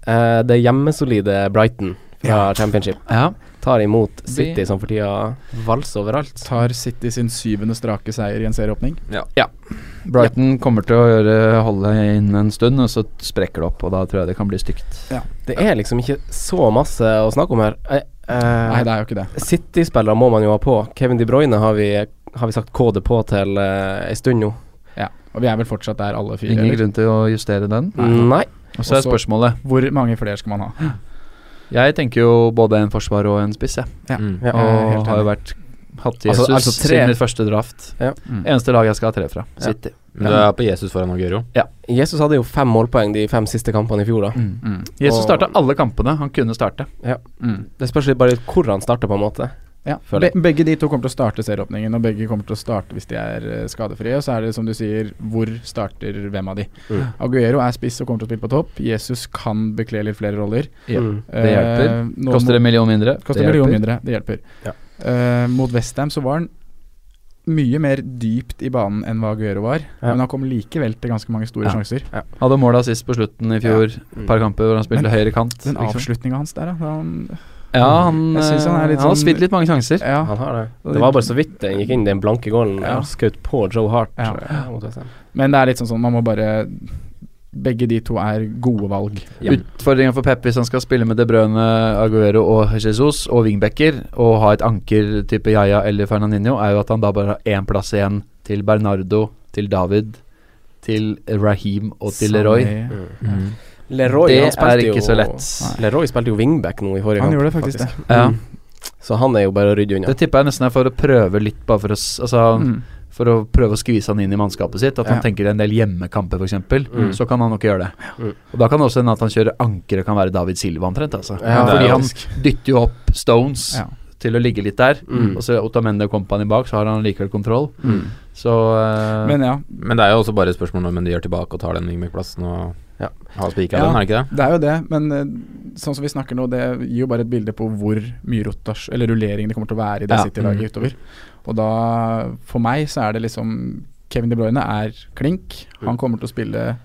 C: Eh, det hjemmesolide Brighton fra Championship
B: Ja.
C: tar imot City,
D: Vi-
C: som for tida valser overalt.
D: Tar City sin syvende strake seier i en serieåpning.
C: Ja.
B: Brighton kommer til å gjøre, holde inn en stund, og så sprekker det opp. Og da tror jeg det kan bli stygt.
C: Det er liksom ikke så masse å snakke om her. Eh, eh,
D: Nei, det er jo ikke det.
C: City-spillere må man jo ha på. Kevin De Bruyne har vi, har vi sagt kode på til uh, ei stund nå.
D: Ja. Og vi er vel fortsatt der, alle fire.
B: Ingen
D: eller?
B: grunn til å justere den.
C: Nei.
B: Og så er
D: Også-
B: spørsmålet
D: Hvor mange flere skal man ha?
B: Jeg tenker jo både en forsvar og en spiss, jeg.
D: Ja.
E: Mm.
C: Ja.
D: Jeg er helt
B: Og har jo
D: enig.
B: vært hatt Jesus
C: Altså- altså tre-
B: siden mitt første draft.
C: Ja.
D: Mm.
B: Eneste lag jeg skal ha tre fra. City.
E: Men du er på Jesus foran Aguero.
C: Jesus hadde jo fem målpoeng de fem siste kampene i fjor, da.
D: Mm.
B: Jesus
C: Og-
B: starta alle kampene han kunne starte.
D: Mm.
C: Det spørs litt bare hvor han starter, på en måte.
D: Ja.
C: Føler jeg.
D: Be begge de to kommer til å starte serieåpningen, og begge kommer til å starte hvis de er eh, skadefrie. Og så er det som du sier, hvor starter hvem av de?
C: Mm.
D: Aguero er spiss og kommer til å spille på topp. Jesus kan bekle litt flere roller.
B: Ja.
C: Mm.
B: Det hjelper.
D: Eh, nå
B: Koster
D: må-
B: en million mindre.
D: Koster
B: Det
D: en million
B: hjelper.
D: mindre, det hjelper.
C: Ja.
D: Eh, mot Westham så var han mye mer dypt i banen enn hva Aguero var,
C: Ja.
D: men han kom likevel til ganske mange store
B: Ja.
D: sjanser.
B: Hadde måla sist på slutten i fjor.
C: Mm.
B: Et par kamper hvor han spilte
D: Men
B: høyre kant.
D: Den
B: liksom.
D: avslutninga hans der, da. Han,
B: Ja, han, eh,
D: Jeg synes han er
B: han,
D: litt
B: har
D: sånn-
B: spilt litt mange sjanser.
D: ja.
C: Han har det. Det var bare så vidt den gikk inn den blanke gålen.
D: Ja.
C: Ja. Skaut på Joe Hart.
D: Ja.
C: eh, mot West Ham.
D: Men det er litt sånn sånn, man må bare Begge de to er gode valg.
B: Utfordringa for Pep hvis han skal spille med De Brøne, Aguero og Jesus og wingbacker, og ha et anker type Yaya eller Fernandinho, er jo at han da bare har én plass igjen til Bernardo, til David, til Raheem og til Mm. Leroy.
D: Sané.
C: Leroy,
B: Det
C: han spilte
B: er ikke
C: jo,
B: så lett.
C: Leroy spilte jo wingback nå i forrige
D: Han
C: kamp.
D: gjorde det faktisk, det.
B: Ja,
C: Mm. Så han er jo bare å rydde unna.
B: det tippa jeg nesten er for å prøve litt, bare for å, s- altså,
D: Mm.
B: for å prøve å skvise han inn i mannskapet sitt. At han
D: Ja.
B: tenker en del hjemmekamper, f.eks.
C: Mm.
B: Så kan han nok gjøre det.
C: Mm.
B: Og da kan det også hende at han kjører anker og kan være David Silva, omtrent. Altså.
C: Ja,
B: Fordi
C: det er
B: han dytter jo opp Stones
D: Ja.
B: til å ligge litt der.
C: Mm.
B: Og så Otamende og Company bak, så har han likevel kontroll. Så eh,
D: Men ja.
E: Men det er jo også bare et spørsmål om de gjør tilbake og tar den Wingback-plassen og
C: ja.
E: har spikra den, er det ikke det?
D: er jo det, men eh, sånn som vi snakker nå, det gir jo bare et bilde på hvor mye rotasj, eller rullering det kommer til å være i det
E: Ja.
D: City-laget
E: Mm.
D: utover. Og da, for meg, så er det liksom Kevin De Bruyne er klink. Han kommer til å spille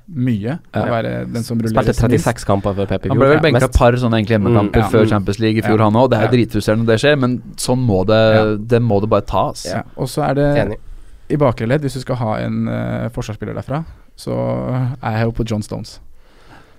C: Mm.
D: mye.
C: Ja.
D: Og være den som
C: Spilte
D: rulleres
C: 36 kamper for Pep i fjor.
B: Han ble vel benka
C: Mest.
B: et par sånne enkle hjemmekamper
C: Mm, ja.
B: før Champions League i fjor,
D: Ja.
B: han òg. Det er
D: Ja.
B: jo drittrusselen når det skjer, men sånn må det, det må det bare tas.
D: Ja, og så er det
C: Enig.
D: i bakre ledd, hvis du skal ha en eh, forsvarsspiller derfra, så er jeg jo på John Stones.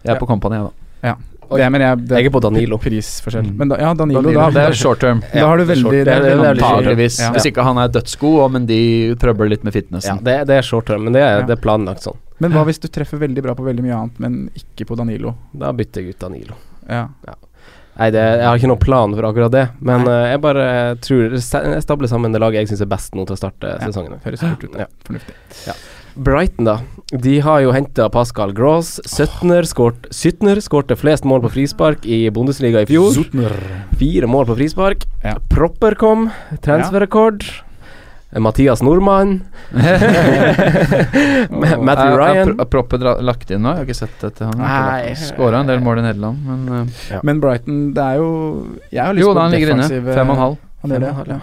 B: Jeg er på Company, jeg, da.
D: Ja. Det, er- men jeg, det
C: Jeg er på Danilo. Mm.
D: Prisforskjell. Men da, ja, Danilo,
B: Danilo,
D: da,
B: det er short term.
D: da har du
C: det er
D: veldig
C: short- det er- det er veldig short term.
B: Antageligvis.
D: Ja.
B: Hvis ikke han er dødsgod, og- men de trøbler litt med fitnessen.
C: Ja, det, det er short term, men det er,
D: Ja.
C: det er planlagt sånn.
D: Men hva hvis du treffer veldig bra på veldig mye annet, men ikke på Danilo?
C: Da bytter jeg ut Danilo.
D: Ja.
C: Nei, det, jeg har ikke noen plan for akkurat det, men eh, jeg bare tror Jeg stabler sammen det laget jeg syns er best nå til å starte sesongen.
D: Høres lurt ut.
C: Ja.
D: Ja. Fornuftig.
C: Brighton, da. De har jo henta Pascal Gross. Søtner skårt, Sytner skårte flest mål på frispark i Bundesliga i fjor. Fire mål på frispark.
D: Ja.
C: Propper kom. Transferrekord. Mathias Nordmann. Ma-
B: Eh,
C: Matthew Ryan.
B: Er, er proppen dra- lagt inn nå? Jeg har ikke sett det til
C: Nei.
B: han. Skåra en del mål i Nederland, men eh,
D: Men Brighton, det er jo Jeg har lyst
B: Jo
D: på
B: da, han ligger inne.
D: defensive-
B: Fem og en halv.
D: Han gjør
C: Fem og en
D: det, ja.
C: halv, ja.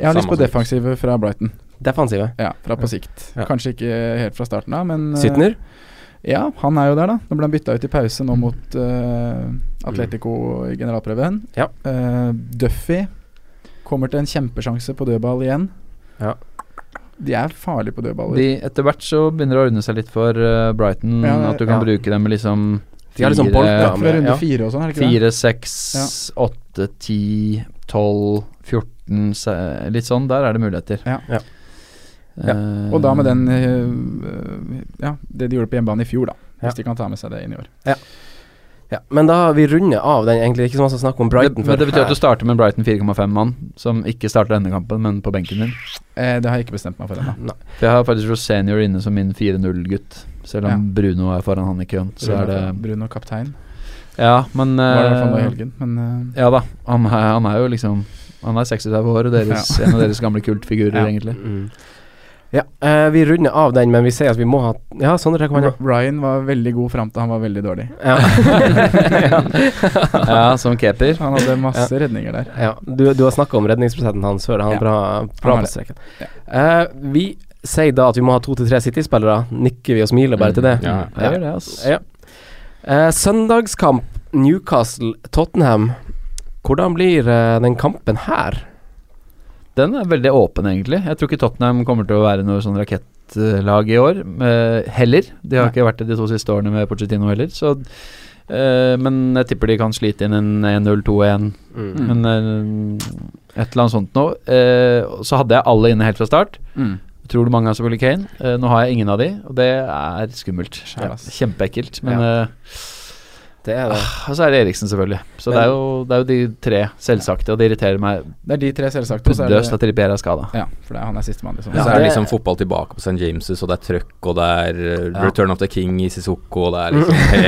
D: Jeg har lyst
E: Samme
D: på
E: som-
D: defensive fra Brighton.
C: Defensive.
D: Ja, fra på sikt.
C: Ja.
D: Kanskje ikke helt fra starten av, men eh,
C: Sytner.
D: Ja, han er jo der, da. Nå ble han bytta ut i pause nå mot eh, Atletico i generalprøven.
C: Ja.
D: Eh, Duffy kommer til en kjempesjanse på dødball igjen.
C: Ja.
D: De er farlige på dødballer.
B: de, etter hvert så begynner det å ordne seg litt for eh, Brighton.
D: Ja, det-
B: at du kan
C: ja.
B: bruke dem med liksom
C: De har liksom
B: fire-
C: bolka
D: ja, fra
C: men-
D: runde
C: ja.
D: fire og sånn, er det ikke det?
B: Fire, seks, åtte, ti, tolv, 14 se- Litt sånn, der er det muligheter.
D: Ja.
C: Ja. Ja.
B: Eh,
D: Og da med den eh, Ja, det de gjorde på hjemmebane i fjor, da.
C: Ja.
D: Hvis de kan ta med seg det inn i år.
C: Ja, men da vi runder av den, egentlig. Det er Ikke så mye snakk om Brighton.
B: det, men det
C: før.
B: betyr at du starter med en Brighton 4,5-mann, som ikke starter denne kampen, men på benken din.
D: Eh, det har jeg ikke bestemt meg for ennå.
B: For jeg har faktisk Rosenior inne som min 4-0-gutt, selv om Bruno er foran han i køen. Så er det
D: Bruno kaptein.
B: Ja, men
D: Var det i hvert fall nå i
B: eh,
D: helgen, men eh,
B: Ja da, han er, han er jo liksom Han er 36 år, og deres, en av deres gamle kultfigurer,
D: Ja.
B: egentlig.
C: Mm. Ja, eh, vi runder av den, men vi sier at vi må ha Ja, Sondre, her kommer han.
D: Ryan var veldig god fram til han var veldig dårlig.
C: Ja. ja.
B: Ja, som keeper.
D: Han hadde masse redninger der.
C: Ja, du, du har snakka om redningsprosenten hans før. Han er
D: Ja.
C: bra, bra
D: Han er
C: på
D: det.
C: streken. Eh, vi sier da at vi må ha to til tre City-spillere. Nikker vi og smiler bare til det?
B: Mm,
E: Ja.
B: Jeg gjør det, ass.
C: Ja. Eh, søndagskamp Newcastle-Tottenham. Hvordan blir eh, den kampen her?
B: Den er veldig åpen, egentlig. Jeg tror ikke Tottenham kommer til å være noe sånn rakettlag i år. eh, heller. De har ikke vært det de to siste årene med Pochettino heller. Så, eh, men jeg tipper de kan slite inn en 1-0-2-1. Men eh, et eller annet sånt noe. Eh, og så hadde jeg alle inne helt fra start. Tror du mange har selvfølgelig Kane? Eh, nå har jeg ingen av de, og det er skummelt.
D: Skjær, ass.
B: Kjempeekkelt. Men eh, ah,
C: Det er det.
B: og så er det Eriksen, selvfølgelig. Så det, er jo, det er jo de tre selvsagte, og det irriterer meg
D: Det er de tre selvsagte. og så er
B: buddøst
D: det-
B: at Rippier er skada.
D: Ja, for det er, han er sistemann, liksom.
E: Og
D: Så
E: så
D: er
E: er det
C: det-
E: liksom fotball tilbake på St. James's, og det er trøkk, og det er eh,
B: Ja.
E: Return of the King i Sissoko, og det er liksom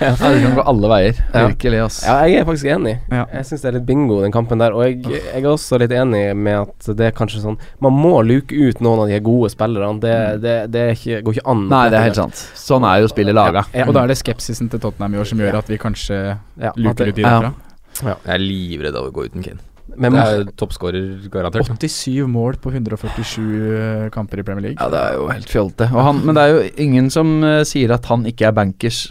B: Ja, det kan gå alle veier.
C: Ja.
B: Virkelig, ass.
C: Ja, jeg er faktisk enig.
D: Ja.
C: Jeg syns det er litt bingo, den kampen der. Og jeg, jeg er også litt enig med at det er kanskje sånn Man må luke ut noen av de gode spillerne. Det, det, det er ikke, går ikke an.
B: Mm. Nei, det er helt sant. Sånn er jo spillet laga.
C: Ja.
D: Og da er det skepsisen til Tottenham i år som gjør at vi kanskje
C: Ja, at
D: luker
C: det-
D: ut de
B: ja.
D: derfra.
E: Jeg er livredd av å gå uten Kane.
C: Men
E: Det er toppskårer garantert.
D: 87 mål på 147 eh, kamper i Premier League.
B: Ja, det er jo helt fjolte. Og han, men det er jo ingen som eh, sier at han ikke er bankers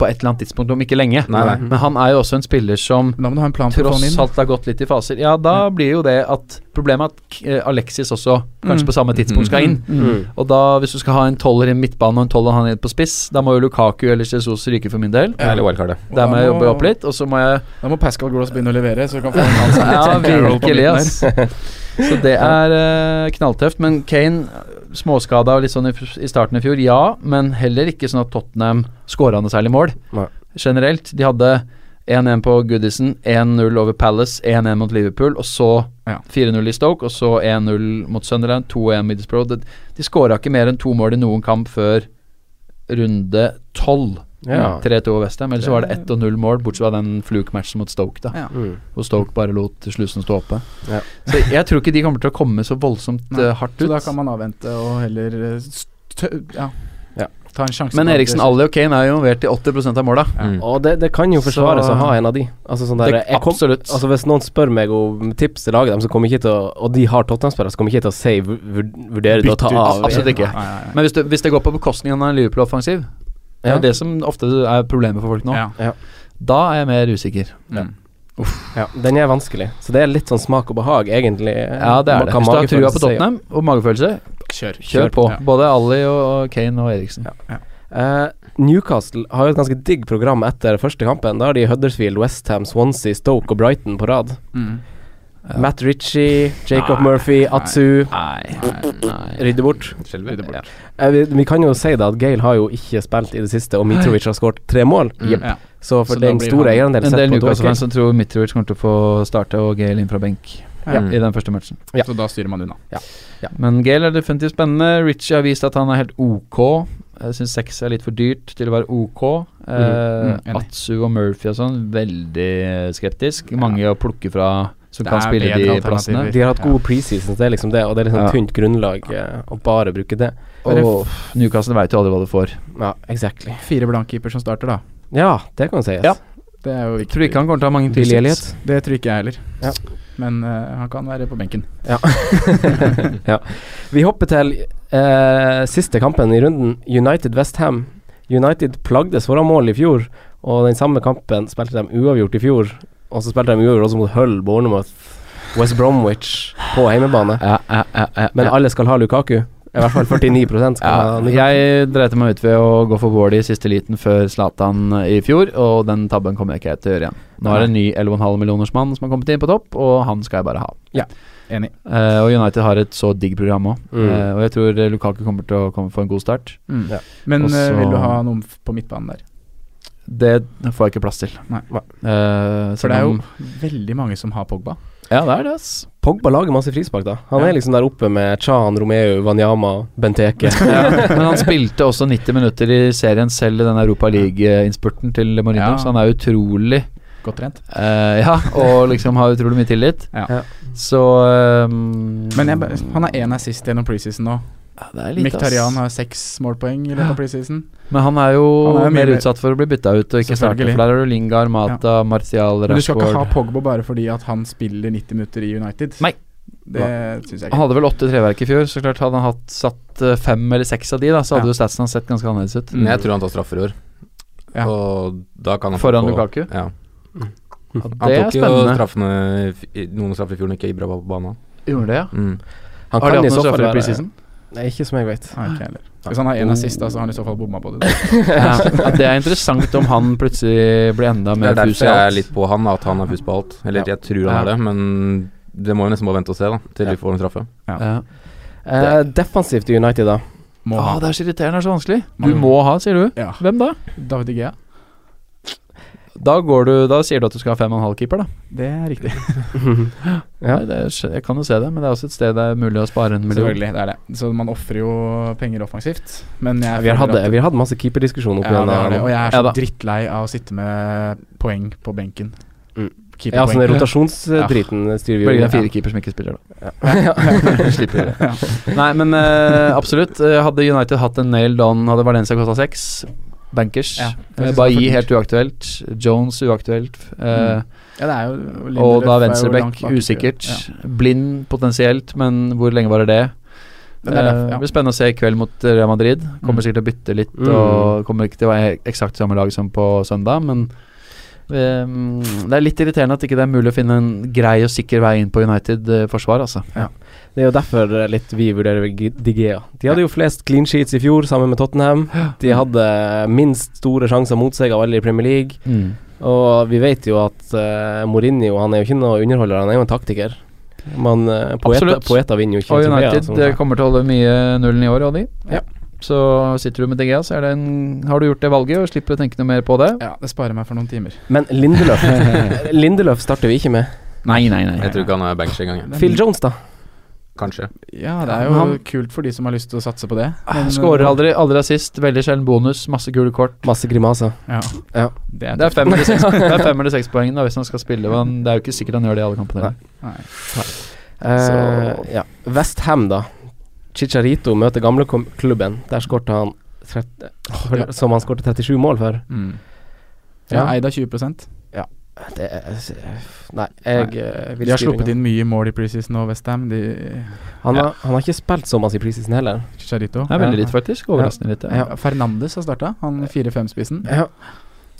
B: på et eller annet tidspunkt, om ikke lenge.
E: Nei, nei.
B: Men han er jo også en spiller som
D: Men da må du ha en plan for å få han
B: tross
D: inn.
B: alt har gått litt i faser. Ja, da blir jo det at Problemet er at eh, Alexis også kanskje
D: Mm.
B: på samme tidspunkt skal inn.
C: Mm.
B: Og da, hvis du skal ha en tolver i midtbane og en tolver han inn på spiss, da må jo Lukaku eller Jesus ryke for min del.
E: Ja. Eller wildcardet.
D: Og
B: Der må jeg
D: da
B: jobbe opp litt, og så må jeg
D: Da må Pascal Gross begynne å levere, så vi kan få en annen
B: Ja,
D: som Carroll på
B: virkelig,
D: midten
B: ass. Så det er eh, knalltøft. Men Kane, småskada og litt sånn i, f- i starten i fjor, ja. Men heller ikke sånn at Tottenham skåra noe særlig mål.
C: Nei.
B: Generelt. De hadde 1-1 på Goodison, 1-0 over Palace, 1-1 mot Liverpool, og så
D: Ja.
B: 4-0 i Stoke, og så 1-0 mot Sunderland, 2-1 Middlesbrough. De, de skåra ikke mer enn to mål i noen kamp før runde 12
C: Ja.
B: 3-2 Westham. Ellers så var det 1-0 mål, bortsett fra den fluke-matchen mot Stoke, da.
D: Ja.
C: Mm.
B: Hvor Stoke bare lot slusen stå oppe.
C: Ja.
B: Så jeg tror ikke de kommer til å komme så voldsomt
D: Nei,
B: eh, hardt
D: Så
B: ut.
D: da kan man avvente og heller eh, stø ja,
C: Ja.
D: ta en sjanse.
B: Men
D: på at
B: Eriksen,
D: det-
B: Ali og Kane er jo involvert i 80 av måla.
E: Mm.
C: Og det, det kan jo forsvares
B: Så-
C: å ha en av de. Altså sånn der,
B: Det-
C: jeg kom,
B: absolutt.
C: Altså Hvis noen spør meg om tips til laget dem, så kommer jeg ikke til å Og de har Tottenham-spillere, så kommer jeg ikke til å si vur- vur- vurdere det å ta
B: Bytte ut.
C: av.
B: Absolutt ikke.
D: Nei, nei, nei.
B: Men hvis det, hvis det går på bekostning av en Liverpool-offensiv, det
C: Ja.
B: er jo det som ofte er problemet for folk nå,
D: Ja.
B: da er jeg mer usikker.
D: Mm.
C: Ja, den er vanskelig. Så det er litt sånn smak og behag, egentlig.
B: Ja, det er
C: Hva
B: det. Hvis du har trua
C: magefølelse
B: på
C: sier.
B: Tottenham og magefølelse,
D: Kjør.
B: kjør på.
D: Ja.
B: Både Ali og Kane og Eriksen.
C: Eh, Newcastle har jo et ganske digg program etter første kampen. Da har de Huddersfield, Westham, Swansea, Stoke og Brighton på rad.
D: Mm.
C: Matt Ritchie, Jacob Murphy, Atsu rydder bort.
E: Skjelver. Ja.
C: Eh, vi, vi kan jo si det at Gale har jo ikke spilt i det siste, og Mitrovic har skåret tre mål. Jep.
D: Ja.
C: Så for
D: Mm. Så da
C: den
D: blir
C: store
D: han-
C: eierandelen
B: En
C: sett
B: del
C: på et år,
B: Newcastle-fans som tror Mitrovic kommer til å få starte og Gale inn fra benk
E: Ja.
C: Mm.
B: i den første matchen.
C: Ja.
D: Så da styrer man unna.
B: Men Gale er definitivt spennende. Richie har vist at han er helt ok. Jeg syns seks er litt for dyrt til å være ok. Eh,
D: Mm, enig.
B: Atsu og Murphy og sånn, veldig skeptisk. Mange å plukke fra som
D: Det
B: kan
D: er
B: spille
D: bedre
B: de
D: alternativer.
B: plassene.
C: De har hatt god preseason, det er liksom det, og det er liksom
B: Ja.
C: tynt grunnlag eh, å bare bruke det.
B: Og Newcastle veit jo aldri hva du får.
C: Ja, exactly.
D: Fire blankkeeper som starter, da.
C: Ja, det kan sies.
B: Ja.
D: Det er jo
B: Jeg tror
D: viktig.
B: ikke han kommer til å ha mange
C: Billig
B: til
C: Elliot.
B: sits.
D: Det tror ikke jeg heller.
C: Ja.
D: Men eh, han kan være på benken.
C: ja. Vi hopper til eh, siste kampen i runden, United Westham. United plagdes foran mål i fjor, og den samme kampen spilte de uavgjort i fjor. Og så spilte de uavgjort også mot Hull, Bournemouth, West Bromwich på hjemmebane.
B: Ja, ja, ja, ja,
C: Men
B: ja.
C: alle skal ha Lukaku. I hvert fall 49 skal ha
B: Ja,
C: Lukaku.
B: jeg dreit meg ut ved å gå for Wardy i siste liten før Zlatan eh, i fjor, og den tabben kommer jeg ikke til å gjøre igjen. Nå er det en ny 11,5 millioners mann som har kommet inn på topp, og han skal jeg bare ha.
D: Enig.
B: Eh, og United har et så digg program òg,
C: Mm.
B: og jeg tror eh, Lukaku kommer til å komme få en god start.
D: Mm.
C: Ja.
D: Men
B: Og så-
D: eh, vil du ha noen f- på midtbanen der?
B: Det får jeg ikke plass til.
D: Nei.
B: Eh,
D: For
B: selv
D: det er jo
B: om-
D: veldig mange som har Pogba.
B: Ja, det er det, ass.
C: Pogba lager masse frispark, da. Han
D: Ja.
C: er liksom der oppe med Chan, Romeo, Wanyama, Benteke.
B: ja, men han spilte også 90 minutter i serien selv i den Europa League-innspurten til Mourinho,
D: Ja.
B: så han er utrolig
D: Godt trent.
B: Eh, ja, og liksom har utrolig mye tillit.
D: Ja.
C: Ja.
B: Så um,
D: Men jeg, ba- han er én assist gjennom preseason nå.
B: ja, det er lite, ass.
D: Miktarian har seks målpoeng i løpet av preseason.
B: Men han er jo
D: Han er jo mye
B: mer
D: mer-
B: utsatt for å bli bytta ut og ikke starte.
D: Selvfølgelig.
B: For der er det Lingard, Mata, Martial,
D: Men du skal ikke ha
B: Rashford
D: Pogba bare fordi at han spiller 90 minutter i United.
B: Nei.
D: Det syns jeg
B: Han
D: ikke.
B: hadde vel åtte treverk i fjor, så klart hadde han hatt satt eh, fem eller seks av de, da, så hadde jo statsen hans sett ganske annerledes ut.
D: Mm.
E: Men jeg tror han tar straffer i år.
D: Ja.
E: Og da kan han
B: Foran
E: få-
B: Lukaku?
E: Ja.
B: Ja,
E: Han
B: det er
E: tok jo
B: spennende.
E: straffene i f- i- Noen straffer i fjor når ikke Ibra var på banen.
B: Gjorde det, ja.
E: Mm.
C: Han
B: Har de
C: kan i
B: hatt noen
C: så fall
B: straffer i
C: være
B: preseason?
C: Nei, ikke som jeg vet.
D: Nei, ikke jeg heller. Hvis han har én assist, da, så har han i så fall bomma på det.
B: ja. ja, Det er interessant om han plutselig blir enda
E: Det
B: mer
E: er
B: fus i
E: derfor jeg er
B: alt.
E: litt på han, at han er pus på alt. Eller jeg tror han er det, men det må jo nesten bare vente og se, da. Til vi får en straffe.
B: Ja.
C: Eh, defensivt i United, da.
D: Må
B: Å,
D: ha
B: Ah, det er så irriterende, det er så vanskelig. Du
D: Mm.
B: må ha, sier du.
D: Ja.
B: Hvem da?
D: David Igea.
B: Da, går du, da sier du at du skal ha fem og en halv keeper, da.
D: Det er riktig.
C: Ja.
B: Nei, det er, skj- jeg kan jo se det, men det er også et sted det er mulig å spare en million.
D: Selvfølgelig, det er det. Så man ofrer jo penger offensivt. Men jeg
C: Vi har hatt,
D: føler
C: det-
D: at-
C: vi har hatt masse keeperdiskusjon opp
D: Ja, vi har det.
C: igjennom.
D: Og jeg er
B: Ja
D: så
B: da.
D: drittlei av å sitte med poeng på benken.
C: Mm. Ja, sånn
D: Keeperpoeng.
C: rotasjonsdriten styrer vi
B: Bølgen
C: jo.
B: er fire keeper som ikke spiller, da.
C: Slipper vi det.
B: Nei, men eh, absolutt. Eh, Hadde United hatt en nailed on, hadde Valencia kosta seks. Bankers.
D: Ja,
B: Eh,
D: jeg synes det er for
B: Bailly
D: dyrt.
B: helt uaktuelt. Jones uaktuelt. Eh,
D: Mm. Ja, det er jo
B: Og da
D: Lindeløf er jo langt
B: venstreback
D: bak i køen.
B: usikkert.
D: Ja.
B: Blind potensielt, men hvor lenge varer det?
D: Men det er derfor,
B: Eh,
D: ja.
B: blir spennende å se i kveld mot Real Madrid. Kommer
D: Mm.
B: sikkert til å bytte litt,
C: Mm.
B: og kommer ikke til å være eksakt samme lag som på søndag, men eh, mm, det er litt irriterende at ikke det er mulig å finne en grei og sikker vei inn på United-forsvar, altså.
C: Det er jo derfor eh, litt vi vurderer G- De Gea. De hadde jo flest clean sheets i fjor, sammen med Tottenham. De hadde minst store sjanser mot seg av alle i Premier League. Og vi vet jo at eh, Mourinho han er jo ikke noe underholder, han er jo en taktiker. Men eh, poeta,
B: Absolutt.
C: poeta vinner jo ikke
B: Og
C: trofeer,
B: United
C: sånn.
B: eh, kommer til å holde mye nullen i år, og de.
C: Ja.
B: Så sitter du med DGA, så er det en, har du gjort det valget og slipper å tenke noe mer på det.
D: ja, det sparer meg for noen timer.
C: Men Lindeløf Lindeløf starter vi ikke med.
B: Nei, nei, nei.
E: Jeg tror ikke han er bankers engang. jeg.
D: Men-
C: Phil Jones, da.
E: kanskje.
D: Ja, det er jo
B: Han-
D: kult for de som har lyst til å satse på det.
B: Men, Skårer Ah, aldri, aldri assist, veldig sjelden bonus, masse gule kort.
C: Masse grimaser.
D: Ja.
C: Ja.
D: Det er
B: Det er
D: tøft.
B: fem eller seks, det er fem eller seks poeng da hvis han skal spille. Men det er jo ikke sikkert han gjør det i alle kampene. heller.
D: Nei.
C: Eh, ja. Westham, da. Chicharito møter gamleklubben. Der skårte han 30,
D: ja.
C: Som han skårte 37 mål for.
D: Mm. Ja,
C: Ja.
D: Eid av 20
C: Det er eh, Nei, jeg eh, vil
D: De har
C: skrive
D: sluppet
C: unna.
D: inn mye mål i preseason og Westham. De
C: Han, har, han har ikke spilt så masse i preseason heller.
D: Chicharito.
B: Det er veldig litt, faktisk. Overraskende litt. Ja.
D: Ja, Fernandes har starta, han 4-5-spissen.
C: Ja.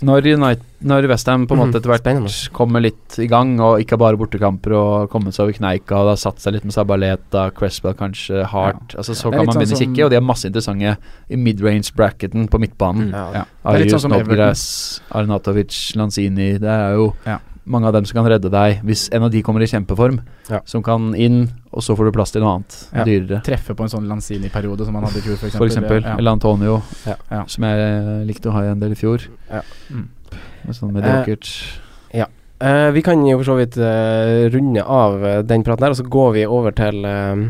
B: Når, United, når Westham på en
D: Mhm.
B: måte etter hvert
C: Spennende.
B: kommer litt i gang, og ikke bare bortekamper, og kommet seg over kneika, og det har satt seg litt med Sabaleta, Cresswell kanskje, Hart altså, Så
D: Det er
B: kan
D: litt
B: man
D: sånn
B: begynne å
D: som-
B: kikke, og de er masse interessante i mid-range-bracketen på midtbanen.
C: Ja.
D: Ja. Mm. Det er
B: Arius,
D: litt sånn som Everton.
B: Nobgras, Arnatovic, Lanzini Det er jo
D: Ja.
B: mange av dem som kan redde deg hvis en av de kommer i kjempeform.
C: Ja.
B: Som kan inn, og så får du plass til noe annet.
D: Ja.
B: Dyrere.
D: Treffe på en sånn Lanzini-periode som han hadde i fjor, f.eks.
B: For eksempel.
D: Ja.
B: Eller Antonio,
C: Ja.
D: Ja.
B: som jeg eh, likte å ha i en del i fjor.
C: Ja.
D: Mm.
B: Med sånn mediokert
C: Eh, vi kan jo for så vidt eh, runde av eh, den praten her, og så går vi over til eh,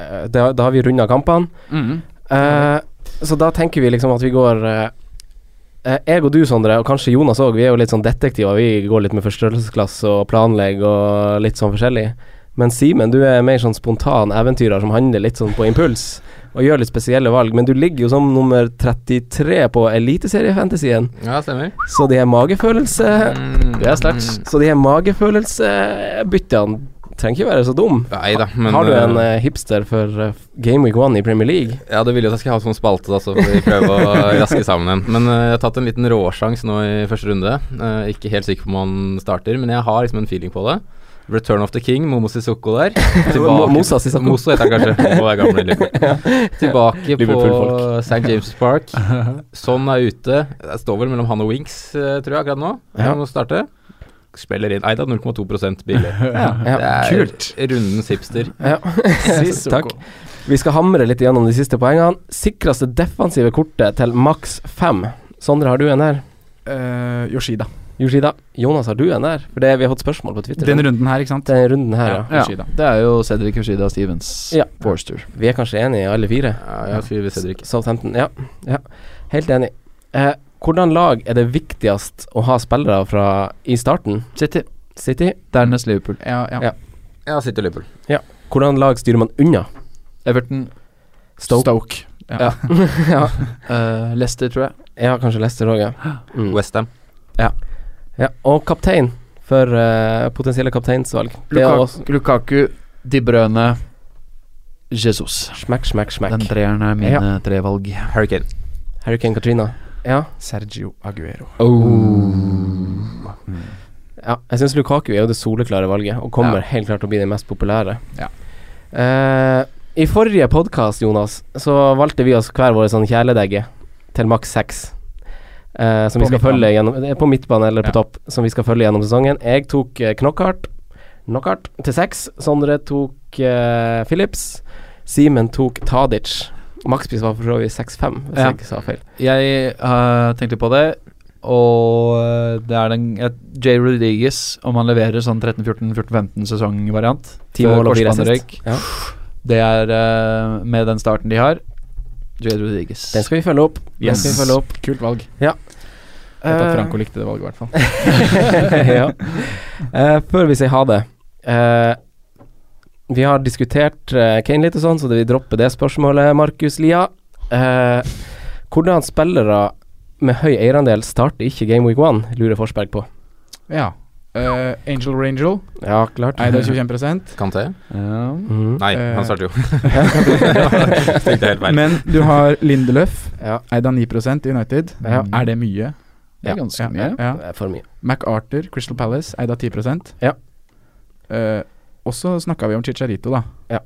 C: eh, da, da har vi runda kampene.
D: Mm.
C: Eh, Så da tenker vi liksom at vi går eh, eh, Jeg og du, Sondre, og kanskje Jonas òg, vi er jo litt sånn detektiver. Vi går litt med forstørrelsesglass og planlegger og litt sånn forskjellig. Men Simen, du er mer sånn spontan eventyrer som handler litt sånn på impuls og gjør litt spesielle valg. Men du ligger jo som nummer 33 på Eliteseriefantasyen,
E: Ja, stemmer.
C: så de her magefølelse...
E: Mm.
B: Det er sterkt.
C: Så de her magefølelsebyttene trenger ikke være så dum.
E: Nei da, men
C: Har du en
E: eh,
C: eh, hipster for eh, Game Week 1 i Premier League?
E: Ja, du ville jo at jeg skulle ha sånn spalte, da, så får vi prøve å raske sammen en. Men eh, jeg har tatt en liten råsjans nå i første runde. Eh, ikke helt sikker på om han starter, men jeg har liksom en feeling på det. Return of the King, Momo Sissoko der. Tilbake-
C: Moussa Sissoko.
E: Moussa heter han kanskje. Momo er gammel i Liverpool. Tilbake på
C: Liverpool-folk.
E: St. James' Park. Sånn er ute. Det står vel mellom han og Winks, eh, tror jeg, akkurat nå.
C: Ja.
E: Han må starte. Spiller inn Eida 0,2 billig.
C: Ja.
E: Det er rundens hipster.
C: Ja. Takk. Vi skal hamre litt gjennom de siste poengene. Sikreste defensive kortet til maks fem. Sondre, har du en der?
D: Eh, Yoshida.
C: Yoshida. Jonas, har du en der? For det, vi har fått spørsmål på Twitter.
D: Den runden her, ikke sant?
C: Den runden her, ja.
B: ja.
D: Yoshida.
B: Det er jo Cedric Yoshida Stevens.
C: Ja.
B: Forster.
C: Vi er kanskje enige, alle fire.
E: Ja, jeg skriver Cedric.
C: Southampton. Ja. ja. Helt enig. Eh, hvordan lag er det viktigst å ha spillere fra i starten?
B: City.
C: City.
B: Dernest Liverpool.
D: Ja, ja.
C: Ja.
E: Ja, sitter Liverpool.
C: Hvordan lag styrer man unna?
B: Everton.
D: Stoke.
C: Stoke.
D: Ja.
C: ja.
B: eh, Leicester, tror jeg.
C: ja, kanskje Leicester òg, ja. Mm.
E: Westham.
C: ja. Og kaptein for eh, potensielle kapteinsvalg. Det er også
B: Lukaku, Lukaku De Brøne, Jesus.
C: Smack, smack, smack.
B: Den treeren er mine tre valg.
E: Hurricane.
C: Hurricane Katrina. Ja.
D: Sergio Aguero.
B: Oh.
C: ja. Jeg syns Lukaku er jo det soleklare valget, og kommer
B: Ja.
C: helt klart til å bli den mest populære.
D: Ja.
C: Eh, I forrige podkast, Jonas, så valgte vi oss hver vår sånn kjæledegge til maks seks. eh, som
D: På
C: vi skal
D: midtbanen.
C: følge gjennom det er På midtbane eller på
D: Ja.
C: topp, som vi skal følge gjennom sesongen. Jeg tok uh, Knockhart Knockhart til seks. Sondre tok eh, Phillips. Simen tok Tadic. Makspris var for så vidt 6-5, hvis
B: Ja.
C: jeg ikke sa feil.
B: Jeg eh, tenkte på det, og eh, det er den jeg- Jay Rodriguez, om han leverer sånn 13-14-14-15-sesongvariant
C: Ti mål og fire assist.
B: Korsbåndrøyk.
C: Ja.
B: Det er eh, med den starten de har. Jay Rodriguez.
C: Den skal vi følge opp. Den
D: Yes.
C: skal vi følge opp.
D: Kult valg. Jeg vet at
C: Eh,
D: Franco likte det valget, i hvert fall.
C: ja. Eh, før vi sier ha det eh, Vi har diskutert eh, Kane litt og sånn, så vi dropper det spørsmålet, Markus Lia. Eh, hvordan spillere med høy eierandel starter ikke Game Week 1, lurer Forsberg på.
D: Ja. Eh, Angel Rangel,
C: Ja, klart.
D: Eid av 25
E: Kanté?
B: Ja.
C: Mhm.
E: Nei,
D: Eh.
E: han starter jo. Tenkte jeg helt feil.
D: Men du har Lindeløf,
C: Ja.
D: Eid av 9 i United.
C: Ja.
D: Er det mye?
B: Det er ganske
D: Ja,
B: mye.
D: ja.
C: Det er for mye.
D: MacArthur, Crystal Palace, eid av 10
C: Ja.
D: Eh, og så snakka vi om Chicharito, da.
C: Ja.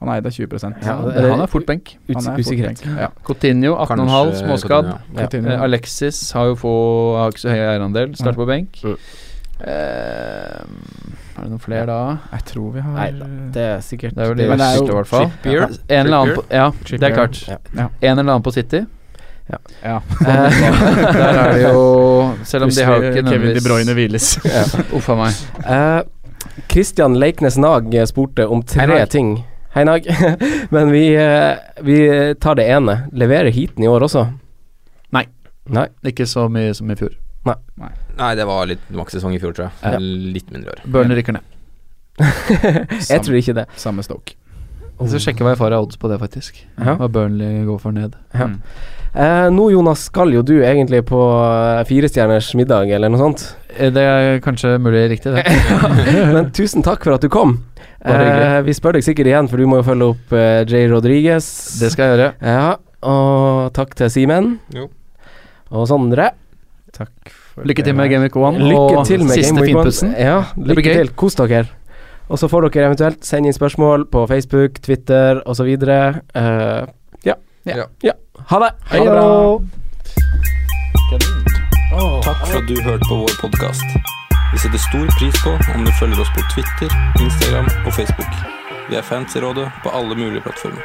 D: Han er eid av 20
B: Ja,
C: Ja,
B: det,
C: det-
B: han er fort benk.
D: Han er
C: Uts- Usikkerhet.
D: fort, Ja.
B: Coutinho,
E: Kanskje
B: 18,5, småskadd.
E: Coutinho,
C: Ja.
D: Coutinho.
B: Eh, Alexis har jo få har ikke så høy eierandel, starter på benk.
C: Mm.
B: Eh, er det noen flere da?
D: Jeg tror vi har
C: Nei da, det er sikkert
B: Det er vel de
C: det-
D: Men det er jo
B: verste, i hvert fall.
E: Trippier.
B: En eller annen på,
E: Trippier.
B: ja, det
D: Trippier.
B: er klart.
C: Ja.
D: Ja.
B: En eller annen på City.
D: ja.
C: Eh,
B: Der er det jo Selv om de har jo ikke
D: Plutselig Kevin De Bruyne
B: nødvendigvis
D: hviles.
B: Uff a meg.
C: eh, Kristian Leiknes Nag spurte om
F: Hei,
C: tre
F: Nag.
C: ting. Hei, Nag. Men vi, eh, vi tar det ene. Leverer heaten i år også?
B: Nei.
C: Nei.
B: Ikke så mye som i fjor.
C: Nei.
F: Nei, det var litt makssesong i fjor, tror jeg.
B: Ja.
F: Litt mindre i år.
B: Burnley rykker ned.
C: Jeg tror ikke det.
G: Samme Stoke.
B: Jeg skal sjekke hva jeg får av odds på det, faktisk.
C: Ja.
B: Hva Burnley går for ned.
C: Ja. Eh, nå, Jonas, skal jo du egentlig på eh, firestjerners middag, eller noe sånt.
B: Eh, Det er kanskje mulig riktig, det.
C: Men tusen takk for at du kom.
B: Bare hyggelig.
C: Eh, vi spør deg sikkert igjen, for du må jo følge opp eh, Jay Rodriguez. Eh,
B: Det skal jeg gjøre.
C: Ja, og takk til Simen.
F: Jo.
C: Og Sondre.
B: Lykke til med Gameweek 1
C: Lykke
B: og
C: til med
B: siste
C: Game Week One.
B: finpussen.
C: Ja,
B: blir
C: lykke
B: gøy.
C: til. Kos dere. Og så får dere eventuelt sende inn spørsmål på Facebook, Twitter osv. Uh, ja.
G: Ja.
C: ja. Ha det.
B: Hei da.
E: Takk for at du hørte på vår podkast. Vi setter stor pris på om du følger oss på Twitter, Instagram og Facebook. Vi er fans i rådet på alle mulige plattformer.